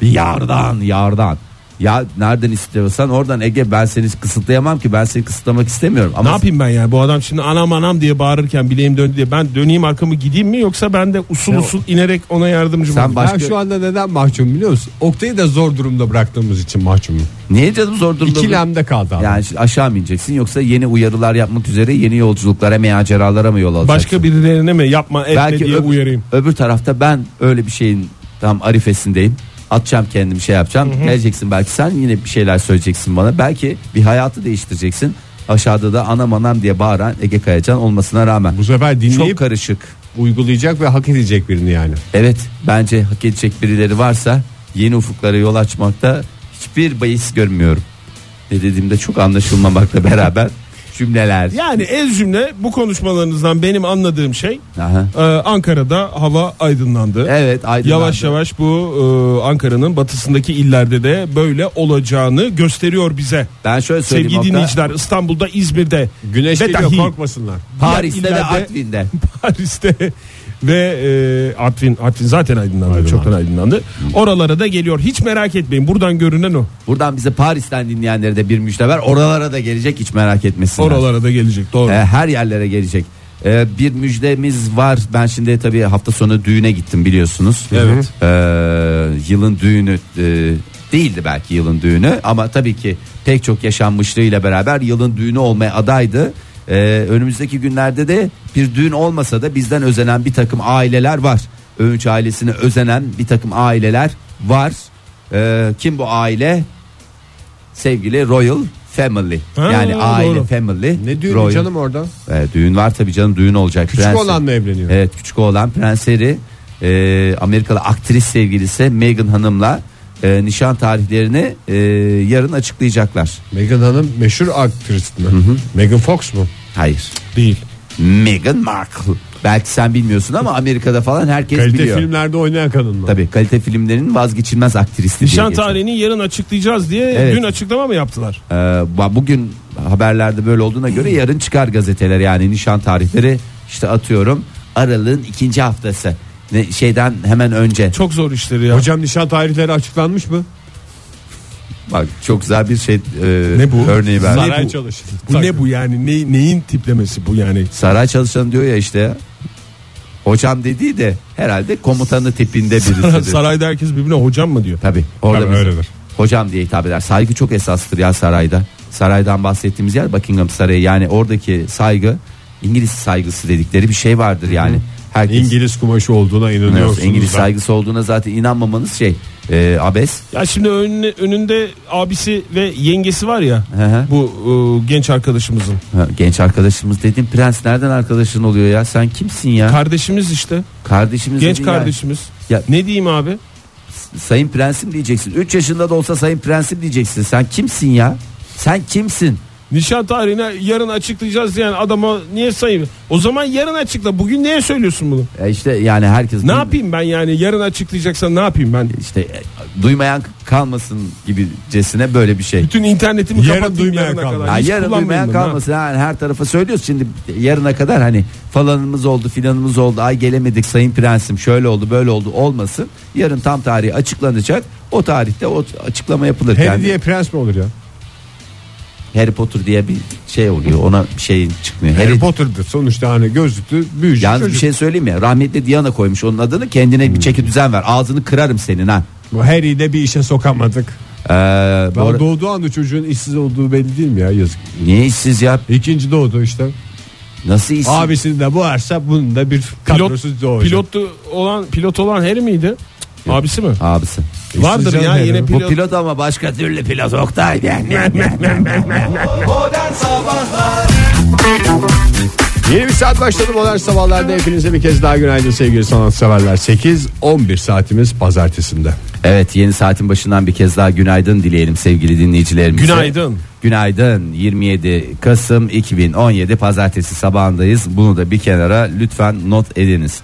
Speaker 5: bir yardan yardan. Ya nereden istiyorsan oradan Ege ben seni kısıtlayamam ki ben seni kısıtlamak istemiyorum.
Speaker 4: Ne
Speaker 5: Ama
Speaker 4: yapayım ben yani bu adam şimdi anam anam diye bağırırken bileğim döndü diye ben döneyim arkamı gideyim mi yoksa ben de usul usul inerek ona yardımcı
Speaker 5: Sen
Speaker 4: olayım?
Speaker 5: bak- Başka-
Speaker 3: Ben şu anda neden mahcum biliyor musun? Oktay'ı da zor durumda bıraktığımız için mahcumum.
Speaker 5: niye canım zor durumda?
Speaker 3: İkilemde kaldı adam.
Speaker 5: Yani şimdi aşağı mı ineceksin yoksa yeni uyarılar yapmak üzere yeni yolculuklara maceralara mı yol alacaksın?
Speaker 4: Başka birilerine mi yapma etme
Speaker 5: Belki
Speaker 4: diye
Speaker 5: öbür-
Speaker 4: uyarayım.
Speaker 5: Öbür tarafta ben öyle bir şeyin tam arifesindeyim. Atacağım kendimi şey yapacağım. Geleceksin belki sen yine bir şeyler söyleyeceksin bana. Belki bir hayatı değiştireceksin. Aşağıda da anam anam diye bağıran Ege Kayacan olmasına rağmen.
Speaker 3: Bu sefer
Speaker 5: Çok
Speaker 3: dinleyip
Speaker 5: karışık.
Speaker 3: uygulayacak ve hak edecek birini yani.
Speaker 5: Evet bence hak edecek birileri varsa yeni ufuklara yol açmakta hiçbir bahis görmüyorum. Ne dediğimde çok anlaşılmamakla beraber cümleler.
Speaker 4: Yani en cümle bu konuşmalarınızdan benim anladığım şey
Speaker 5: Aha.
Speaker 4: e, Ankara'da hava aydınlandı.
Speaker 5: Evet aydınlandı.
Speaker 4: Yavaş yavaş bu e, Ankara'nın batısındaki illerde de böyle olacağını gösteriyor bize.
Speaker 5: Ben şöyle söyleyeyim.
Speaker 4: Sevgili
Speaker 5: Oktay.
Speaker 4: dinleyiciler İstanbul'da, İzmir'de,
Speaker 3: Güneş
Speaker 4: ve
Speaker 3: geliyor
Speaker 4: dahi
Speaker 3: korkmasınlar.
Speaker 5: Paris'te
Speaker 4: diğer
Speaker 5: de
Speaker 4: illerde-
Speaker 5: Artvin'de.
Speaker 4: Paris'te ve e, Artvin, Artvin zaten aydınlandı,
Speaker 3: Aydınlandı.
Speaker 4: çoktan aydınlandı. Oralara da geliyor. Hiç merak etmeyin. Buradan görünen o.
Speaker 5: Buradan bize Paris'ten dinleyenlere de bir müjde ver. Oralara da gelecek hiç merak etmesinler.
Speaker 4: Oralara da gelecek. Doğru.
Speaker 5: Ee, her yerlere gelecek. Ee, bir müjdemiz var. Ben şimdi tabii hafta sonu düğüne gittim biliyorsunuz.
Speaker 4: Evet.
Speaker 5: Ee, yılın düğünü e, değildi belki yılın düğünü ama tabii ki pek çok yaşanmışlığıyla beraber yılın düğünü olmaya adaydı. Ee, önümüzdeki günlerde de bir düğün olmasa da bizden özenen bir takım aileler var. Övünç ailesine özenen bir takım aileler var. Ee, kim bu aile? Sevgili Royal Family.
Speaker 4: Ha,
Speaker 5: yani
Speaker 4: doğru.
Speaker 5: aile Family.
Speaker 3: Ne düğünü
Speaker 5: Royal-
Speaker 3: canım orada?
Speaker 5: e, düğün var tabii canım düğün olacak.
Speaker 3: Küçük
Speaker 5: Prens-
Speaker 3: olan mı evleniyor?
Speaker 5: Evet küçük olan prenseri e, Amerikalı aktris sevgilisi Meghan Hanım'la e, nişan tarihlerini e, yarın açıklayacaklar.
Speaker 3: Meghan Hanım meşhur aktris mi? Megan Fox mu?
Speaker 5: Hayır.
Speaker 4: Değil.
Speaker 5: Meghan Markle. Belki sen bilmiyorsun ama Amerika'da falan herkes
Speaker 3: Kalite
Speaker 5: biliyor.
Speaker 3: filmlerde oynayan kadın mı?
Speaker 5: Tabii kalite filmlerin vazgeçilmez aktrisi. diye
Speaker 4: Nişan
Speaker 5: şey geçiyor.
Speaker 4: tarihini yarın açıklayacağız diye
Speaker 5: Evet.
Speaker 4: dün açıklama mı yaptılar?
Speaker 5: Ee, ba- bugün haberlerde böyle olduğuna göre yarın çıkar gazeteler yani nişan tarihleri işte atıyorum Aralık'ın ikinci haftası. Ne, şeyden hemen önce.
Speaker 4: Çok zor işleri ya.
Speaker 3: Hocam nişan tarihleri açıklanmış mı?
Speaker 5: Bak çok güzel bir şey e,
Speaker 4: Ne bu?
Speaker 5: örneği verdi.
Speaker 4: Saray
Speaker 5: Bu-
Speaker 4: çalışanı. Bu ne bu yani? Ne, neyin tiplemesi bu yani?
Speaker 5: Saray çalışanı diyor ya işte. Hocam dediği de herhalde komutanı tipinde birisidir.
Speaker 4: Sarayda herkes birbirine hocam mı diyor?
Speaker 5: Tabii orada
Speaker 3: Tabii
Speaker 5: biz-
Speaker 3: öyledir.
Speaker 5: hocam diye hitap eder. Saygı çok esastır ya sarayda. Saraydan bahsettiğimiz yer Buckingham Sarayı. Yani oradaki saygı İngiliz saygısı dedikleri bir şey vardır yani. Herkes
Speaker 6: İngiliz kumaşı olduğuna inanıyorsunuz.
Speaker 5: İngiliz, İngiliz
Speaker 6: ben.
Speaker 5: saygısı olduğuna zaten inanmamanız şey e, abes.
Speaker 4: Ya şimdi önüne- önünde abisi ve yengesi var ya
Speaker 5: Hı hı.
Speaker 4: bu e, genç arkadaşımızın.
Speaker 5: Ha, Genç arkadaşımız dedim prens nereden arkadaşın oluyor ya sen kimsin ya?
Speaker 4: Kardeşimiz işte.
Speaker 5: kardeşimiz
Speaker 4: Genç
Speaker 5: dedin ya.
Speaker 4: kardeşimiz.
Speaker 5: Ya-
Speaker 4: Ne diyeyim abi?
Speaker 5: Sayın prensim diyeceksin. 3 yaşında da olsa sayın prensim diyeceksin. Sen kimsin ya? Sen kimsin?
Speaker 4: Nişan tarihini yarın açıklayacağız yani adama niye sayayım? O zaman yarın açıkla. Bugün niye söylüyorsun bunu?
Speaker 5: E işte yani herkes
Speaker 4: Ne yapayım ben yani? Yarın açıklayacaksan ne yapayım ben?
Speaker 5: İşte e, duymayan kalmasın gibicesine böyle bir şey.
Speaker 4: Bütün internetimi
Speaker 6: Yarın
Speaker 4: kapatayım
Speaker 6: duymayan
Speaker 4: yarına kadar.
Speaker 6: kalmasın.
Speaker 5: Ya
Speaker 4: Hiç
Speaker 5: yarın
Speaker 4: kullanmayayım
Speaker 5: duymayan
Speaker 4: ben, ha.
Speaker 5: kalmasın. Yani her tarafa söylüyoruz şimdi yarına kadar hani falanımız oldu filanımız oldu. Ay gelemedik sayın prensim şöyle oldu böyle oldu olmasın. Yarın tam tarihi açıklanacak. O tarihte o açıklama yapılır.
Speaker 6: Harry
Speaker 5: Yani
Speaker 6: diye prens mi olur ya?
Speaker 5: Harry Potter diye bir şey oluyor. Ona bir şey çıkmıyor.
Speaker 6: Harry,
Speaker 5: Harry
Speaker 6: Potter'dır sonuçta hani gözlüklü büyücü
Speaker 5: Yalnız
Speaker 6: çocuk.
Speaker 5: bir şey söyleyeyim mi? Rahmetli Diana koymuş onun adını. Kendine bir çeki düzen ver. Ağzını kırarım senin ha.
Speaker 6: Bu Harry'i de bir işe sokamadık.
Speaker 5: Ee, bu
Speaker 6: Daha
Speaker 5: ara-
Speaker 6: doğduğu anda çocuğun işsiz olduğu belli değil mi ya yazık.
Speaker 5: Niye işsiz ya?
Speaker 6: İkinci doğdu işte.
Speaker 5: Nasıl işsiz?
Speaker 6: Abisini de boğarsa bunun da bir
Speaker 4: Pilot,
Speaker 6: kadrosuz doğacak.
Speaker 4: pilotu olan pilot olan Harry miydi? Abisi mi?
Speaker 5: Abisi.
Speaker 4: Vardır
Speaker 6: canım
Speaker 4: ya
Speaker 6: Harry.
Speaker 4: yine
Speaker 6: Bu
Speaker 5: Bu
Speaker 4: pilot.
Speaker 5: pilot ama başka türlü pilot Oktay.
Speaker 2: Modern Sabahlar
Speaker 6: Yeni bir saat başladı modern sabahlarda hepinize bir kez daha günaydın sevgili sanatseverler. 8-11 saatimiz pazartesinde.
Speaker 5: Evet yeni saatin başından bir kez daha günaydın dileyelim sevgili dinleyicilerimize.
Speaker 4: Günaydın.
Speaker 5: Günaydın 27 Kasım 2017 Pazartesi sabahındayız. Bunu da bir kenara lütfen not ediniz.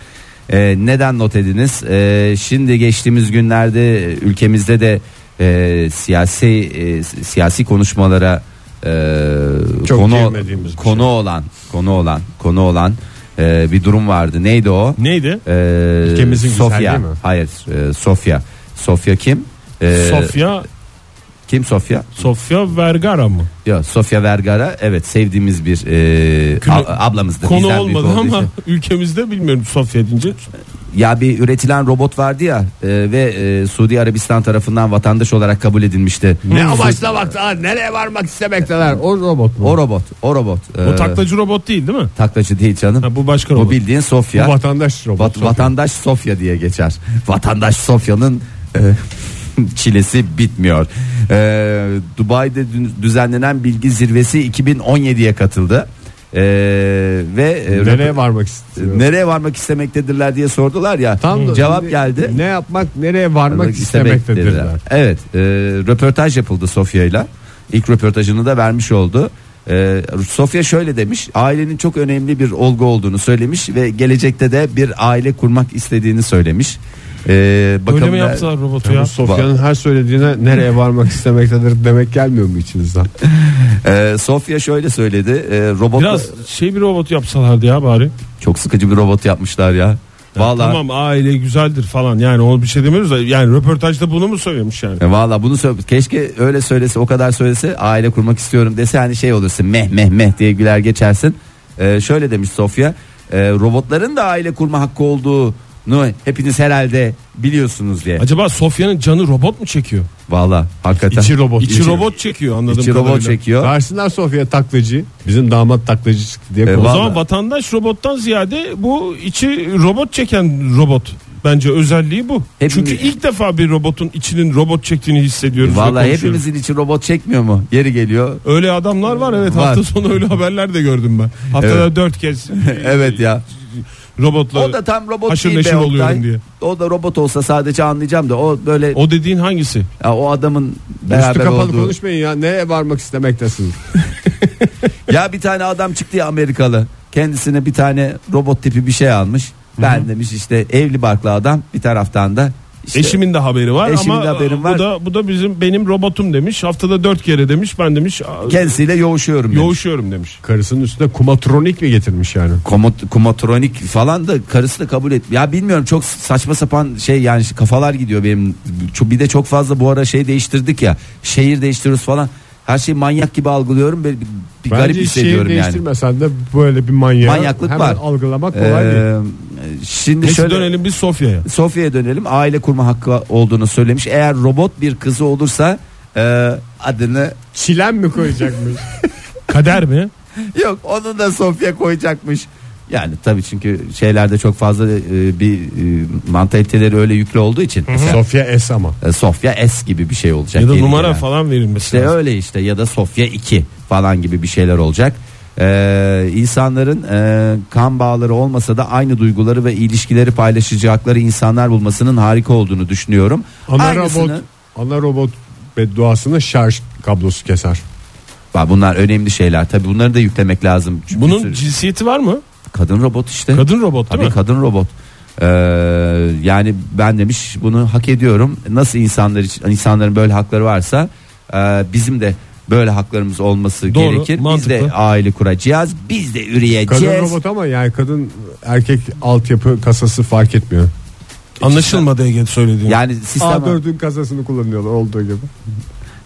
Speaker 5: Ee, neden not ediniz? Ee, şimdi geçtiğimiz günlerde ülkemizde de e, siyasi e, siyasi konuşmalara e,
Speaker 6: Çok
Speaker 5: konu
Speaker 6: girmediğimiz bir
Speaker 5: konu
Speaker 6: şey.
Speaker 5: olan konu olan konu olan e, bir durum vardı. Neydi o?
Speaker 4: Neydi?
Speaker 5: Ee,
Speaker 6: Ülkemizin
Speaker 5: Sofya.
Speaker 6: güzelliği mi?
Speaker 5: Hayır, e, Sofya. Sofya kim? Ee,
Speaker 4: Sofya
Speaker 5: Kim Sofya?
Speaker 4: Sofya Vergara mı?
Speaker 5: Ya Sofya Vergara evet sevdiğimiz bir e,
Speaker 4: Konu-
Speaker 5: a- ablamızdı.
Speaker 4: Konu
Speaker 5: Bizden büyük
Speaker 4: olmadı
Speaker 5: olduğu
Speaker 4: ama
Speaker 5: için.
Speaker 4: ülkemizde bilmiyorum Sofya deyince.
Speaker 5: Ya bir üretilen robot vardı ya e, ve e, Suudi Arabistan tarafından vatandaş olarak kabul edilmişti.
Speaker 6: Ne amaçla baktılar nereye varmak istemekteler o robot mu?
Speaker 5: O robot, o robot.
Speaker 4: O
Speaker 5: e,
Speaker 4: taklacı robot değil değil mi?
Speaker 5: taklacı değil canım.
Speaker 4: Ha, bu başka
Speaker 5: bu
Speaker 4: robot.
Speaker 5: bildiğin Sofya.
Speaker 6: Bu vatandaş robot.
Speaker 5: Vat- vatandaş Sofya diye geçer. Vatandaş Sofya'nın e, çilesi bitmiyor. E, Dubai'de dü- düzenlenen bilgi zirvesi 2017'ye katıldı. E, ve e,
Speaker 6: nereye varmak istiyor?
Speaker 5: nereye varmak istemektedirler diye sordular ya.
Speaker 6: Tam da-
Speaker 5: cevap geldi.
Speaker 6: Ne yapmak nereye varmak
Speaker 5: istemektedirler.
Speaker 6: istemektedirler.
Speaker 5: Evet, e, röportaj yapıldı Sofya'yla. İlk röportajını da vermiş oldu. E, Sofya şöyle demiş, ailenin çok önemli bir olgu olduğunu söylemiş ve gelecekte de bir aile kurmak istediğini söylemiş. E,
Speaker 4: Öyle
Speaker 5: bakalım
Speaker 4: mi
Speaker 5: ne-
Speaker 4: yaptılar robotu
Speaker 6: Ya
Speaker 4: ya?
Speaker 6: bu Sofya'nın her söylediğine nereye varmak istemektedir demek gelmiyor mu içinizden?
Speaker 5: E, Sofya şöyle söyledi, e, robot
Speaker 4: Biraz şey bir robot yapsalardı ya bari.
Speaker 5: çok sıkıcı bir robot yapmışlar ya. Vallahi.
Speaker 4: Tamam aile güzeldir falan yani onu bir şey demiyoruz da yani röportajda bunu mu söylemiş yani?
Speaker 5: E, Valla bunu sö- keşke öyle söylese o kadar söylese aile kurmak istiyorum dese hani şey olursun meh meh meh diye güler geçersin. E, şöyle demiş Sofya e, robotların da aile kurma hakkı olduğunu hepiniz herhalde biliyorsunuz diye.
Speaker 4: Acaba Sofya'nın canı robot mu çekiyor?
Speaker 5: Valla hakikaten.
Speaker 6: İçi robot.
Speaker 4: İçi robot çekiyor anladığım
Speaker 5: İçi robot
Speaker 4: kadarıyla.
Speaker 5: çekiyor.
Speaker 6: Versinler Sofya taklacı. Bizim damat taklacı çıktı diye
Speaker 5: E,
Speaker 4: O
Speaker 6: konuşuyor.
Speaker 4: zaman
Speaker 5: Vallahi.
Speaker 4: vatandaş robottan ziyade bu içi robot çeken robot bence özelliği bu.
Speaker 5: Hepimiz-
Speaker 4: Çünkü ilk defa bir robotun içinin robot çektiğini hissediyoruz. ve
Speaker 5: Valla
Speaker 4: konuşuyoruz.
Speaker 5: E, hepimizin içi robot çekmiyor mu? Yeri geliyor.
Speaker 4: Öyle adamlar var evet
Speaker 5: Var.
Speaker 4: hafta sonu öyle haberler de gördüm ben. Haftada
Speaker 5: Evet.
Speaker 4: dört kez
Speaker 5: evet ya.
Speaker 4: robotla.
Speaker 5: O da tam robot
Speaker 4: Haşır
Speaker 5: değil
Speaker 4: neşir
Speaker 5: be Oktay.
Speaker 4: oluyorum diye.
Speaker 5: O da robot olsa sadece anlayacağım da o böyle o,
Speaker 4: O dediğin hangisi?
Speaker 5: o adamın
Speaker 6: Üstü
Speaker 5: beraber
Speaker 6: kapalı
Speaker 5: olduğu.
Speaker 6: konuşmayın ya nereye varmak istemektesiniz?
Speaker 5: Ya bir tane adam çıktı ya Amerikalı. Kendisine bir tane robot tipi bir şey almış. Ben demiş işte evli barklı adam bir taraftan da işte
Speaker 4: Eşimin de haberi var
Speaker 5: Eşimin
Speaker 4: ama
Speaker 5: de haberim var.
Speaker 4: bu da bu da bizim benim robotum demiş. Haftada dört kere demiş. Ben demiş "Aa,
Speaker 5: kendisiyle yoğuşuyorum demiş.
Speaker 4: yoğuşuyorum demiş.
Speaker 6: Karısının üstüne kumatronik mi getirmiş yani?
Speaker 5: Komot- komotronik falan da karısı da kabul et. Ya bilmiyorum çok saçma sapan şey yani şu kafalar gidiyor benim. Çok- Bir de çok fazla bu ara şey değiştirdik ya. Şehir değiştiriyoruz falan. Her şeyi manyak gibi algılıyorum. Böyle bir, bir garip
Speaker 6: Bence şehir
Speaker 5: hissediyorum yani.
Speaker 6: değiştirmesen de böyle bir manyağı
Speaker 5: Manyaklık
Speaker 6: hemen
Speaker 5: var.
Speaker 6: algılamak kolay değil.
Speaker 5: Ee, şimdi
Speaker 4: Neyse
Speaker 5: şöyle
Speaker 4: dönelim biz Sofya'ya.
Speaker 5: Sofya'ya dönelim. Aile kurma hakkı olduğunu söylemiş. Eğer robot bir kızı olursa e, adını
Speaker 6: Çilen mi koyacakmış?
Speaker 4: Kader mi?
Speaker 5: yok onu da Sofya koyacakmış. Yani tabii çünkü şeylerde çok fazla e, bir e, mantaliteleri öyle yüklü olduğu için mesela,
Speaker 3: Sofya S ama.
Speaker 5: e, Sofya S gibi bir şey olacak.
Speaker 4: Ya da
Speaker 5: yeni
Speaker 4: numara
Speaker 5: gelen.
Speaker 4: falan verilmesi
Speaker 5: İşte
Speaker 4: lazım.
Speaker 5: öyle işte ya da Sofya 2 falan gibi bir şeyler olacak. Ee, insanların e, kan bağları olmasa da aynı duyguları ve ilişkileri paylaşacakları insanlar bulmasının harika olduğunu düşünüyorum.
Speaker 3: Ana
Speaker 5: Aynısını-
Speaker 3: robot, ana robot bedduasını şarj kablosu keser.
Speaker 5: Bak bunlar önemli şeyler. Tabii bunları da yüklemek lazım. Çünkü
Speaker 4: Bunun
Speaker 5: sürü-
Speaker 4: cinsiyeti var mı?
Speaker 5: kadın robot işte.
Speaker 4: Kadın robot değil
Speaker 5: Tabii
Speaker 4: mi?
Speaker 5: kadın robot. Ee, yani ben demiş bunu hak ediyorum. Nasıl insanlar için insanların böyle hakları varsa e, bizim de böyle haklarımız olması
Speaker 4: Doğru,
Speaker 5: gerekir. Biz de
Speaker 4: mantıklı.
Speaker 5: aile kuracağız. Biz de üreyeceğiz.
Speaker 3: Kadın robot ama yani kadın erkek altyapı kasası fark etmiyor.
Speaker 4: Anlaşılmadı Ege söylediğin.
Speaker 5: Yani sistem
Speaker 3: A4'ün kasasını kullanıyorlar olduğu gibi.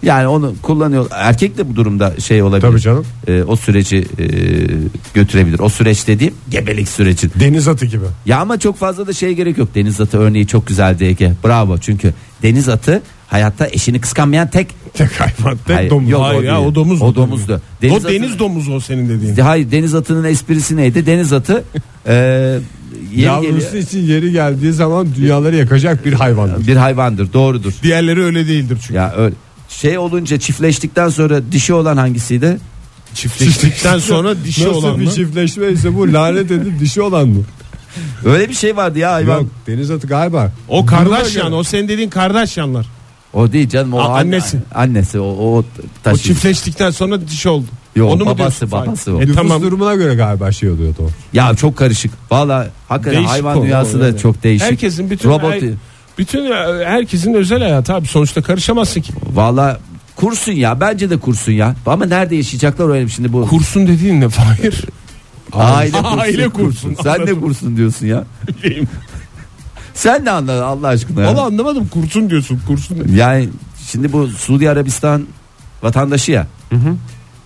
Speaker 5: yani onu kullanıyor. Erkek de bu durumda şey olabilir.
Speaker 3: Tabii canım.
Speaker 5: Ee, o süreci e, götürebilir. O süreç dediğim gebelik süreci.
Speaker 3: Deniz atı gibi.
Speaker 5: Ya ama çok fazla da şey gerek yok. Deniz atı örneği çok güzeldi Ege. Bravo. Çünkü deniz atı hayatta eşini kıskanmayan tek
Speaker 3: Tek hayvan, tek
Speaker 5: Hayır,
Speaker 3: domuz.
Speaker 5: yok,
Speaker 4: Hayır
Speaker 5: o
Speaker 4: ya
Speaker 5: değil.
Speaker 4: o domuz.
Speaker 5: O domuzdu.
Speaker 4: Deniz o
Speaker 5: Deniz atı-
Speaker 4: deniz domuzu o senin dediğin.
Speaker 5: hayır deniz atının esprisi neydi? Deniz atı e, yeri
Speaker 3: Yavrusu
Speaker 5: geliyor-
Speaker 3: için yeri geldiği zaman dünyaları yakacak bir hayvandır.
Speaker 5: bir hayvandır. Doğrudur.
Speaker 4: Diğerleri öyle değildir çünkü.
Speaker 5: Ya öyle şey olunca çiftleştikten sonra dişi olan hangisiydi?
Speaker 4: Çiftleştikten sonra dişi
Speaker 3: Nasıl
Speaker 4: olan
Speaker 3: bir
Speaker 4: mı?
Speaker 3: çiftleşme ise bu lanet edip dişi olan mı?
Speaker 5: Öyle bir şey vardı ya hayvan.
Speaker 3: Yok deniz atı galiba.
Speaker 4: O kardeş
Speaker 3: Duruma
Speaker 4: yani
Speaker 3: göre.
Speaker 4: o senin dediğin kardeş yanlar.
Speaker 5: O değil canım o
Speaker 4: Aa,
Speaker 5: an-
Speaker 4: annesi.
Speaker 5: Annesi o o
Speaker 4: O
Speaker 5: taşı.
Speaker 4: çiftleştikten sonra dişi oldu.
Speaker 5: Yok,
Speaker 4: Onu mu
Speaker 5: babası,
Speaker 4: diyorsun?
Speaker 5: babası
Speaker 4: E,
Speaker 5: o.
Speaker 3: Nüfus
Speaker 4: tamam.
Speaker 3: durumuna göre galiba şey oluyordu o.
Speaker 5: Ya çok karışık. Valla hakikaten
Speaker 4: Değişik
Speaker 5: hayvan
Speaker 4: konu,
Speaker 5: dünyası da
Speaker 4: yani.
Speaker 5: çok değişik.
Speaker 4: Herkesin bütün
Speaker 5: robot
Speaker 4: her- bütün e, herkesin özel hayatı abi sonuçta karışamazsın ki.
Speaker 5: valla kursun ya bence de kursun ya. Ama nerede yaşayacaklar öyle şimdi bu?
Speaker 4: Kursun dediğin ne Fahir?
Speaker 5: Aile kursun.
Speaker 4: Aile kursun.
Speaker 5: Sen ne kursun diyorsun ya? Sen ne anladın Allah aşkına? ya?
Speaker 4: Valla anlamadım kursun diyorsun kursun.
Speaker 5: Yani şimdi bu Suudi Arabistan vatandaşı ya.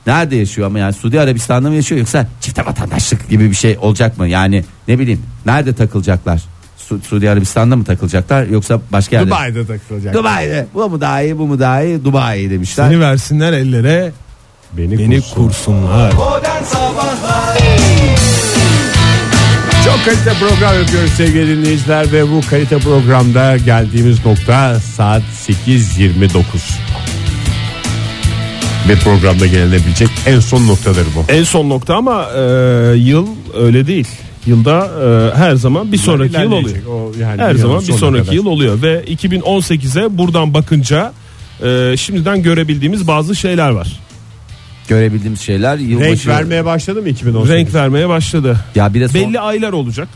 Speaker 5: Nerede yaşıyor ama yani Suudi Arabistan'da mı yaşıyor yoksa çifte vatandaşlık gibi bir şey olacak mı? Yani ne bileyim nerede takılacaklar? Su- Suudi Arabistan'da mı takılacaklar yoksa başka yerde?
Speaker 3: Dubai'de takılacak.
Speaker 5: Dubai'de. Bu mu daha iyi bu mu daha iyi Dubai demişler.
Speaker 4: Beni versinler ellere
Speaker 3: Beni,
Speaker 4: beni
Speaker 3: kursun.
Speaker 4: kursunlar.
Speaker 7: Modern Sabahlar
Speaker 3: Çok kalite program yapıyoruz sevgili dinleyiciler ve bu kalite programda geldiğimiz nokta saat 8.29. Ve programda gelebilecek en son noktadır bu.
Speaker 4: En son nokta ama e, yıl öyle değil. Yılda e, her zaman bir sonraki yıl oluyor.
Speaker 3: İlerleyecek o yani
Speaker 4: Her
Speaker 3: yılın
Speaker 4: zaman Hani bir
Speaker 3: sonuna
Speaker 4: sonraki
Speaker 3: kadar.
Speaker 4: yıl oluyor ve 2018'e buradan bakınca e, şimdiden görebildiğimiz bazı şeyler var.
Speaker 5: Görebildiğimiz şeyler yılbaşı.
Speaker 3: Renk vermeye başladı mı 2018?
Speaker 4: Renk vermeye başladı.
Speaker 5: Ya bir de son-
Speaker 4: Belli
Speaker 5: belli,
Speaker 4: aylar olacak.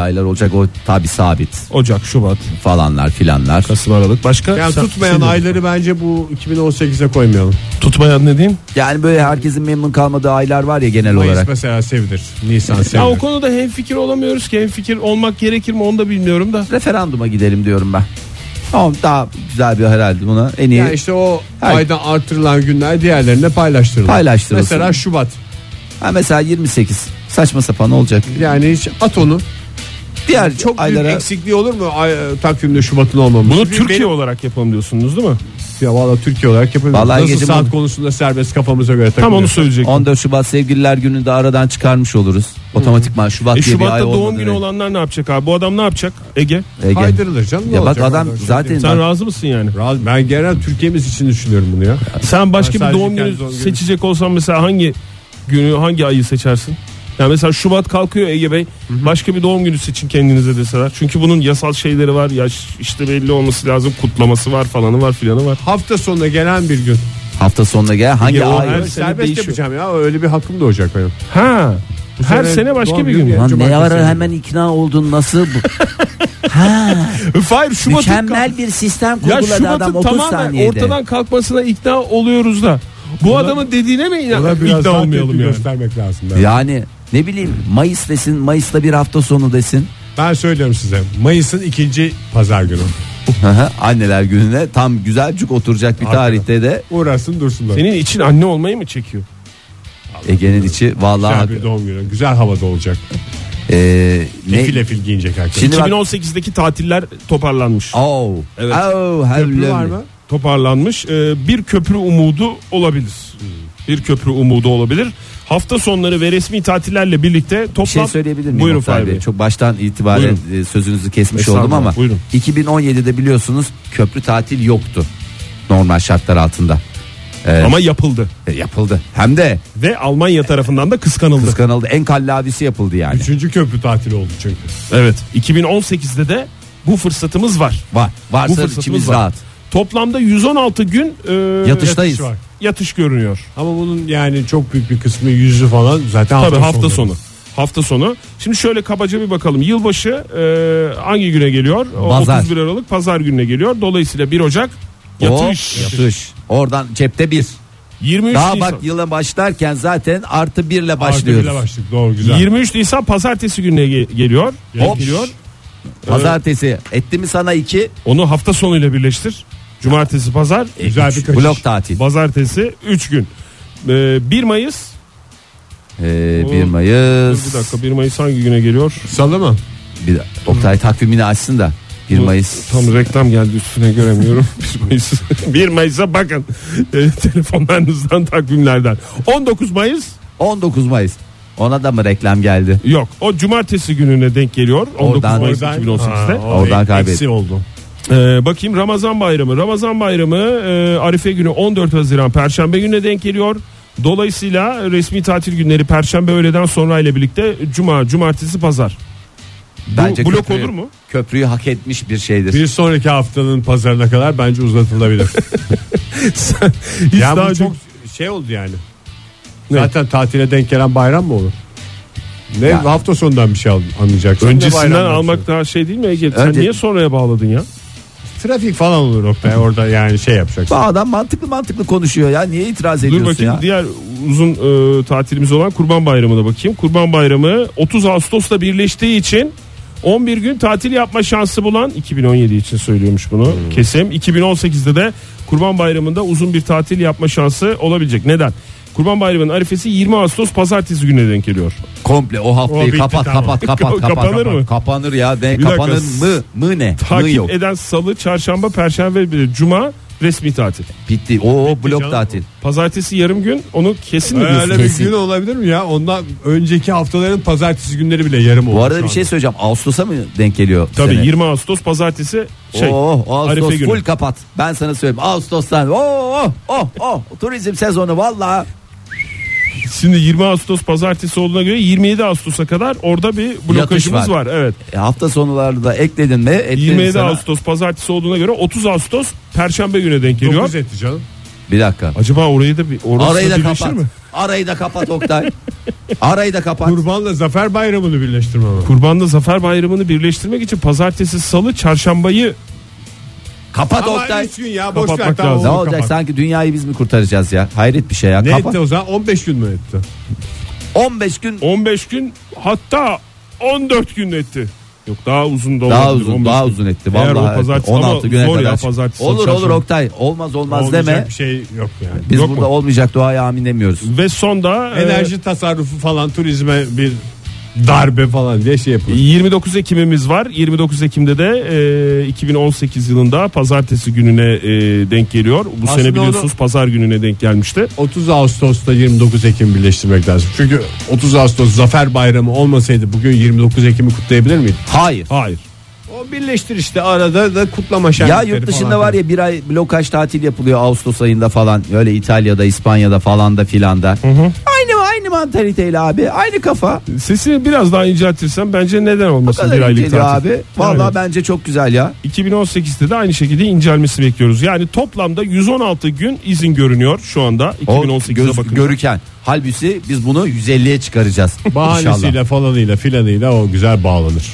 Speaker 5: aylar olacak o tabi sabit
Speaker 4: Ocak, Şubat,
Speaker 5: falanlar filanlar.
Speaker 4: Kasım, Aralık. Başka
Speaker 3: Yani
Speaker 4: Sen-
Speaker 3: tutmayan
Speaker 4: senin-
Speaker 3: ayları bence bu 2018'e koymayalım.
Speaker 4: tutmayan ne diyeyim?
Speaker 5: Yani böyle herkesin memnun kalmadığı aylar var ya genel
Speaker 3: Mayıs
Speaker 5: olarak.
Speaker 3: mesela sevilir. Nisan
Speaker 4: Ya o
Speaker 3: sevilir.
Speaker 4: konuda hem fikir olamıyoruz ki hem fikir olmak gerekir mi onu da bilmiyorum da.
Speaker 5: referanduma gidelim diyorum ben. Tamam daha güzel bir herhalde buna en iyi
Speaker 3: Yani işte o
Speaker 5: Hayır.
Speaker 3: aydan artırılan günler diğerlerine paylaştırılır.
Speaker 5: Paylaştırılsın.
Speaker 3: Mesela Şubat.
Speaker 5: ha mesela 28 saçma sapan olacak.
Speaker 3: Yani hiç at onu.
Speaker 5: Diğer çok
Speaker 3: Çok
Speaker 5: aylara
Speaker 3: büyük eksikliği olur mu ay, e, takvimde Şubat'ın olmaması?
Speaker 4: Bunu
Speaker 3: Bir
Speaker 4: Türkiye
Speaker 3: benim-
Speaker 4: olarak yapalım diyorsunuz değil mi?
Speaker 3: Ya valla Türkiye olarak yapabiliriz.
Speaker 5: Vallahi
Speaker 3: Nasıl
Speaker 5: Ege'cim
Speaker 3: saat
Speaker 5: bunu-
Speaker 3: konusunda serbest kafamıza göre
Speaker 4: Tam onu
Speaker 3: takılıyoruz.
Speaker 4: söyleyecek.
Speaker 5: 14 Şubat sevgililer gününü de aradan çıkarmış oluruz. Otomatikman Şubat
Speaker 4: E
Speaker 5: diye bir
Speaker 4: Şubat'ta
Speaker 5: ay
Speaker 4: doğum
Speaker 5: olmadı
Speaker 4: günü
Speaker 5: ve-
Speaker 4: olanlar ne yapacak abi? Bu adam ne yapacak? Ege.
Speaker 5: Ege.
Speaker 3: Kaydırılır canım. ne
Speaker 5: Ya bak
Speaker 3: olacak?
Speaker 5: adam
Speaker 3: Ondan sonra
Speaker 5: zaten
Speaker 4: Sen
Speaker 5: bak,
Speaker 4: razı mısın yani?
Speaker 3: Rahat- Ben genel Türkiye'miz için düşünüyorum bunu ya.
Speaker 4: Sen
Speaker 3: Ben
Speaker 4: başka bir
Speaker 3: sadece
Speaker 4: doğum
Speaker 3: kendi
Speaker 4: günü
Speaker 3: doğum günümü-
Speaker 4: seçecek olsan mesela hangi günü hangi ayı seçersin? Yani mesela Şubat kalkıyor Ege Bey. Başka bir doğum günü seçin kendinize deseler. Çünkü bunun yasal şeyleri var. Yaş işte belli olması lazım. Kutlaması var falanı var filanı var.
Speaker 3: Hafta sonuna gelen bir gün.
Speaker 5: hafta sonuna gel hangi
Speaker 4: Ya o
Speaker 5: ay
Speaker 4: her
Speaker 5: olursa
Speaker 4: sene
Speaker 3: Serbest
Speaker 5: değişiyor.
Speaker 3: yapacağım ya öyle bir hakkım da olacak benim.
Speaker 4: Ha. Her
Speaker 3: sene
Speaker 4: sene başka
Speaker 3: doğum
Speaker 4: bir
Speaker 3: günü
Speaker 4: gün.
Speaker 3: ya.
Speaker 4: ya.
Speaker 5: Lan ne
Speaker 3: Cumartesi
Speaker 5: ara
Speaker 3: günü.
Speaker 5: hemen ikna oldun nasıl bu?
Speaker 4: Hayır Şubat'ın
Speaker 5: Mükemmel bir sistem
Speaker 4: Ya
Speaker 5: kurguladı
Speaker 4: Şubat'ın
Speaker 5: adam 30
Speaker 4: tamamen
Speaker 5: saniyede.
Speaker 4: ortadan kalkmasına ikna oluyoruz da. Bu adamın dediğine mi inan- ikna
Speaker 3: daha
Speaker 4: olmayalım
Speaker 3: tepki
Speaker 4: yani?
Speaker 3: göstermek lazım. Ben.
Speaker 5: Yani ne bileyim Mayıs desin Mayıs'ta bir hafta sonu desin.
Speaker 3: ben söylüyorum size. Mayıs'ın ikinci pazar günü.
Speaker 5: Hı hı, Anneler gününe tam güzelcük oturacak bir tarihte de
Speaker 3: Uğrasın dursunlar.
Speaker 4: Senin için anne olmayı mı çekiyor?
Speaker 5: Ege'nin içi
Speaker 3: Güzel
Speaker 5: vallahi
Speaker 3: bir doğum günü. Güzel havada olacak.
Speaker 5: Ee, ne?
Speaker 3: Efil efil giyinecek herkes.
Speaker 5: Şimdi bak-
Speaker 4: 2018'deki tatiller toparlanmış.
Speaker 5: Oh,
Speaker 4: Evet.
Speaker 3: Köprü
Speaker 5: oh,
Speaker 3: var
Speaker 5: hevlemli.
Speaker 3: mı?
Speaker 5: Hmm.
Speaker 4: toparlanmış. Ee, bir köprü umudu olabilir. Bir köprü umudu olabilir. Hafta sonları ve resmi tatillerle birlikte toplam...
Speaker 5: Bir şey söyleyebilir miyim?
Speaker 4: Buyurun
Speaker 5: Oktay
Speaker 4: Fahri
Speaker 5: Bey?
Speaker 4: Bey.
Speaker 5: Çok baştan itibaren e, sözünüzü kesmiş oldum
Speaker 4: Estağfurullah,
Speaker 5: ama
Speaker 4: buyurun.
Speaker 5: 2017'de biliyorsunuz köprü tatil yoktu. Normal şartlar altında.
Speaker 4: Ama yapıldı.
Speaker 5: E, yapıldı. Hem de
Speaker 4: Ve Almanya tarafından da kıskanıldı.
Speaker 5: kıskanıldı. En kallavisi yapıldı yani.
Speaker 3: Üçüncü köprü tatili oldu çünkü.
Speaker 4: Evet. 2018'de de bu fırsatımız var.
Speaker 5: Var.
Speaker 4: Bu
Speaker 5: Varsa
Speaker 4: fırsatımız
Speaker 5: içimiz
Speaker 4: var.
Speaker 5: rahat.
Speaker 4: Toplamda 116 gün e,
Speaker 5: Yatıştayız.
Speaker 3: var.
Speaker 4: yatış görünüyor.
Speaker 3: Ama bunun yani çok büyük bir kısmı yüzü falan zaten
Speaker 4: Tabii hafta sonu. Hafta sonu. Şimdi şöyle kabaca bir bakalım. Yılbaşı e, hangi güne geliyor? O
Speaker 5: Pazar.
Speaker 4: 31 Aralık pazar gününe geliyor. Dolayısıyla 1 Ocak yatış.
Speaker 5: O, yatış. Oradan cepte bir.
Speaker 4: 23
Speaker 5: Daha
Speaker 4: Nisan.
Speaker 5: bak yıla başlarken zaten artı birle
Speaker 3: Başlıyoruz.
Speaker 5: başlıyoruz.
Speaker 3: başladık doğru güzel.
Speaker 4: 23 Nisan pazartesi gününe ge- geliyor.
Speaker 5: Hop.
Speaker 4: Geliyor.
Speaker 5: Pazartesi etti mi sana iki
Speaker 4: Onu hafta sonuyla birleştir. Cumartesi pazar,
Speaker 3: Güzel bir kaçış.
Speaker 5: blok tatil.
Speaker 4: pazartesi 3 gün. E, 1 Mayıs.
Speaker 5: Ee,
Speaker 4: O-
Speaker 5: 1
Speaker 4: Dur
Speaker 5: Mayıs.
Speaker 4: bir dakika 1 Mayıs hangi güne geliyor?
Speaker 3: Salı mı?
Speaker 5: Bir dakika. Oktay takvimini açsın da 1 Mayıs.
Speaker 4: Tam reklam geldi üstüne göremiyorum. 1 Mayıs. 1 Mayıs'a bakın. E, telefonlarınızdan takvimlerden. 19 Mayıs
Speaker 5: 19 Mayıs. Ona da mı reklam geldi?
Speaker 4: Yok. O cumartesi gününe denk geliyor. 19
Speaker 5: Oradan-
Speaker 4: Mayıs 2018'te.
Speaker 5: Oradan kaybettik.
Speaker 3: Eksi oldu.
Speaker 4: Ee, bakayım Ramazan Bayramı. Ramazan Bayramı e, Arife günü 14 Haziran Perşembe gününe denk geliyor. Dolayısıyla resmi tatil günleri Perşembe öğleden sonra ile birlikte Cuma, Cumartesi, Pazar.
Speaker 5: Bence
Speaker 4: blok
Speaker 5: köprüyü-
Speaker 4: olur mu?
Speaker 5: Köprüyü hak etmiş bir şeydir.
Speaker 3: Bir sonraki haftanın pazarına kadar bence uzatılabilir.
Speaker 4: Hiç
Speaker 3: ya
Speaker 4: daha
Speaker 3: bu çok
Speaker 4: önce-
Speaker 3: şey oldu yani. Zaten tatile denk gelen bayram mı olur? Ne
Speaker 5: Yani.
Speaker 3: hafta sonundan bir şey al- anlayacaksın. Ne
Speaker 4: öncesinden
Speaker 3: bayramdan
Speaker 4: almak
Speaker 3: sonra?
Speaker 4: daha şey değil mi Ege? Sen
Speaker 5: Önce-
Speaker 4: niye sonraya bağladın ya?
Speaker 3: trafik falan olur Oktay orada yani şey yapacaksın.
Speaker 5: Bu adam mantıklı mantıklı konuşuyor ya. Niye itiraz
Speaker 4: Dur
Speaker 5: ediyorsun
Speaker 4: bakayım
Speaker 5: ya?
Speaker 4: diğer uzun e, tatilimiz olan Kurban Bayramı'na bakayım. Kurban Bayramı 30 Ağustos'ta birleştiği için 11 gün tatil yapma şansı bulan 2017 için söylüyormuş bunu.
Speaker 5: Hmm.
Speaker 4: Kesim 2018'de de Kurban Bayramı'nda uzun bir tatil yapma şansı olabilecek. Neden? Kurban Bayramı'nın arifesi 20 Ağustos pazartesi gününe denk geliyor.
Speaker 5: Komple o
Speaker 3: O
Speaker 5: haftayı
Speaker 3: bitti,
Speaker 5: kapat,
Speaker 3: tamam.
Speaker 5: kapat kapat kapat
Speaker 4: Kapanır
Speaker 5: kapat.
Speaker 4: mı?
Speaker 5: Kapanır ya. Ne,
Speaker 4: Bir dakika.
Speaker 5: kapanır mı? Mı ne? Mı
Speaker 4: Takip
Speaker 5: yok.
Speaker 4: eden salı, çarşamba, perşembe, bir de cuma resmi tatil.
Speaker 5: Bitti. O blok
Speaker 3: canım.
Speaker 5: tatil.
Speaker 4: Pazartesi yarım gün onu kesin mi diyorsun?
Speaker 3: Öyle bir
Speaker 5: Kesin.
Speaker 3: gün olabilir mi ya? Ondan önceki haftaların pazartesi günleri bile yarım olur.
Speaker 5: Bu arada
Speaker 3: şu
Speaker 5: bir şey
Speaker 3: anda.
Speaker 5: söyleyeceğim. Ağustos'a mı denk geliyor? bu
Speaker 4: Tabii
Speaker 5: sene?
Speaker 4: 20 Ağustos pazartesi şey
Speaker 5: oh, oh, Ağustos
Speaker 4: Arife günü.
Speaker 5: full kapat. Ben sana söyleyeyim. Ağustos'tan oh, oh, oh, oh. turizm sezonu valla.
Speaker 4: Şimdi 20 Ağustos pazartesi olduğuna göre 27 Ağustos'a kadar orada bir blokajımız
Speaker 5: Yatış var.
Speaker 4: var. Evet.
Speaker 5: E, hafta sonları da ekledin mi? Ekledin
Speaker 4: 27
Speaker 5: sana.
Speaker 4: Ağustos pazartesi olduğuna göre 30 Ağustos perşembe güne denk geliyor.
Speaker 3: Dokuz etti canım.
Speaker 5: Bir dakika.
Speaker 4: Acaba orayı da bir orası
Speaker 5: Arayı da
Speaker 4: birleşir
Speaker 5: kapat.
Speaker 4: mi?
Speaker 5: Arayı da kapat Oktay. Arayı da kapat.
Speaker 3: Kurbanla Zafer Bayramı'nı birleştirme ama.
Speaker 4: Kurbanla Zafer Bayramı'nı birleştirmek için pazartesi, salı, çarşambayı
Speaker 5: Kapat
Speaker 3: Ama
Speaker 5: Oktay.
Speaker 3: üç gün ya boş ver
Speaker 4: Kapatmak
Speaker 3: tamam
Speaker 4: lazım.
Speaker 5: Ne
Speaker 3: onu
Speaker 5: olacak
Speaker 3: kapat.
Speaker 5: sanki dünyayı biz mi kurtaracağız ya? Hayret bir şey ya.
Speaker 3: Ne
Speaker 5: Kapat.
Speaker 3: etti o zaman 15 gün mü etti?
Speaker 5: 15 gün
Speaker 4: 15 gün hatta 14 gün etti. Yok daha uzun da
Speaker 5: daha
Speaker 4: olabilir,
Speaker 5: uzun
Speaker 4: 15
Speaker 5: daha
Speaker 4: gün.
Speaker 5: uzun etti
Speaker 4: Eğer o
Speaker 5: vallahi.
Speaker 4: pazartesi-
Speaker 5: 16
Speaker 4: ama
Speaker 5: güne
Speaker 4: zor ya
Speaker 5: kadar.
Speaker 4: pazartesi,
Speaker 5: olur
Speaker 4: çarşamba.
Speaker 5: olur Oktay. Olmaz olmaz
Speaker 3: Olmayacak
Speaker 5: deme.
Speaker 3: bir şey yok yani.
Speaker 5: Biz
Speaker 4: Yok
Speaker 5: burada
Speaker 4: mu?
Speaker 5: olmayacak duaya amin demiyoruz.
Speaker 4: Ve son da e,
Speaker 3: Enerji tasarrufu falan turizme bir darbe falan diye şey yapılır.
Speaker 4: 29 Ekim'imiz var. 29 Ekim'de de e, 2018 yılında pazartesi gününe e, denk geliyor. Bu
Speaker 3: Aslında
Speaker 4: sene biliyorsunuz pazar gününe denk gelmişti.
Speaker 3: 30 Ağustos'ta 29 Ekim birleştirmek lazım. Çünkü 30 Ağustos Zafer Bayramı olmasaydı bugün 29 Ekim'i kutlayabilir miydik?
Speaker 5: Hayır.
Speaker 4: Hayır.
Speaker 3: O birleştir işte arada da kutlama şenlikleri
Speaker 5: Ya yurt dışında var
Speaker 3: ya.
Speaker 5: ya bir ay blokaj tatil yapılıyor Ağustos ayında falan. Öyle İtalya'da, İspanya'da falan da filan da. Aynı aynı mantaliteyle abi. Aynı kafa.
Speaker 4: Sesi biraz daha inceltirsem bence neden olmasın bir
Speaker 5: Kadar
Speaker 4: aylık
Speaker 5: inceliyor
Speaker 4: tatil.
Speaker 5: abi. Vallahi
Speaker 4: Evet.
Speaker 5: bence çok güzel ya.
Speaker 4: 2018'de de aynı şekilde incelmesi bekliyoruz. Yani toplamda 116 gün izin görünüyor şu anda
Speaker 5: O
Speaker 4: 2018'e
Speaker 5: göz,
Speaker 4: bakın.
Speaker 5: görüken. Halbuki biz bunu 150'ye çıkaracağız. İnşallah.
Speaker 3: Bahanesiyle falanıyla filanıyla o güzel bağlanır.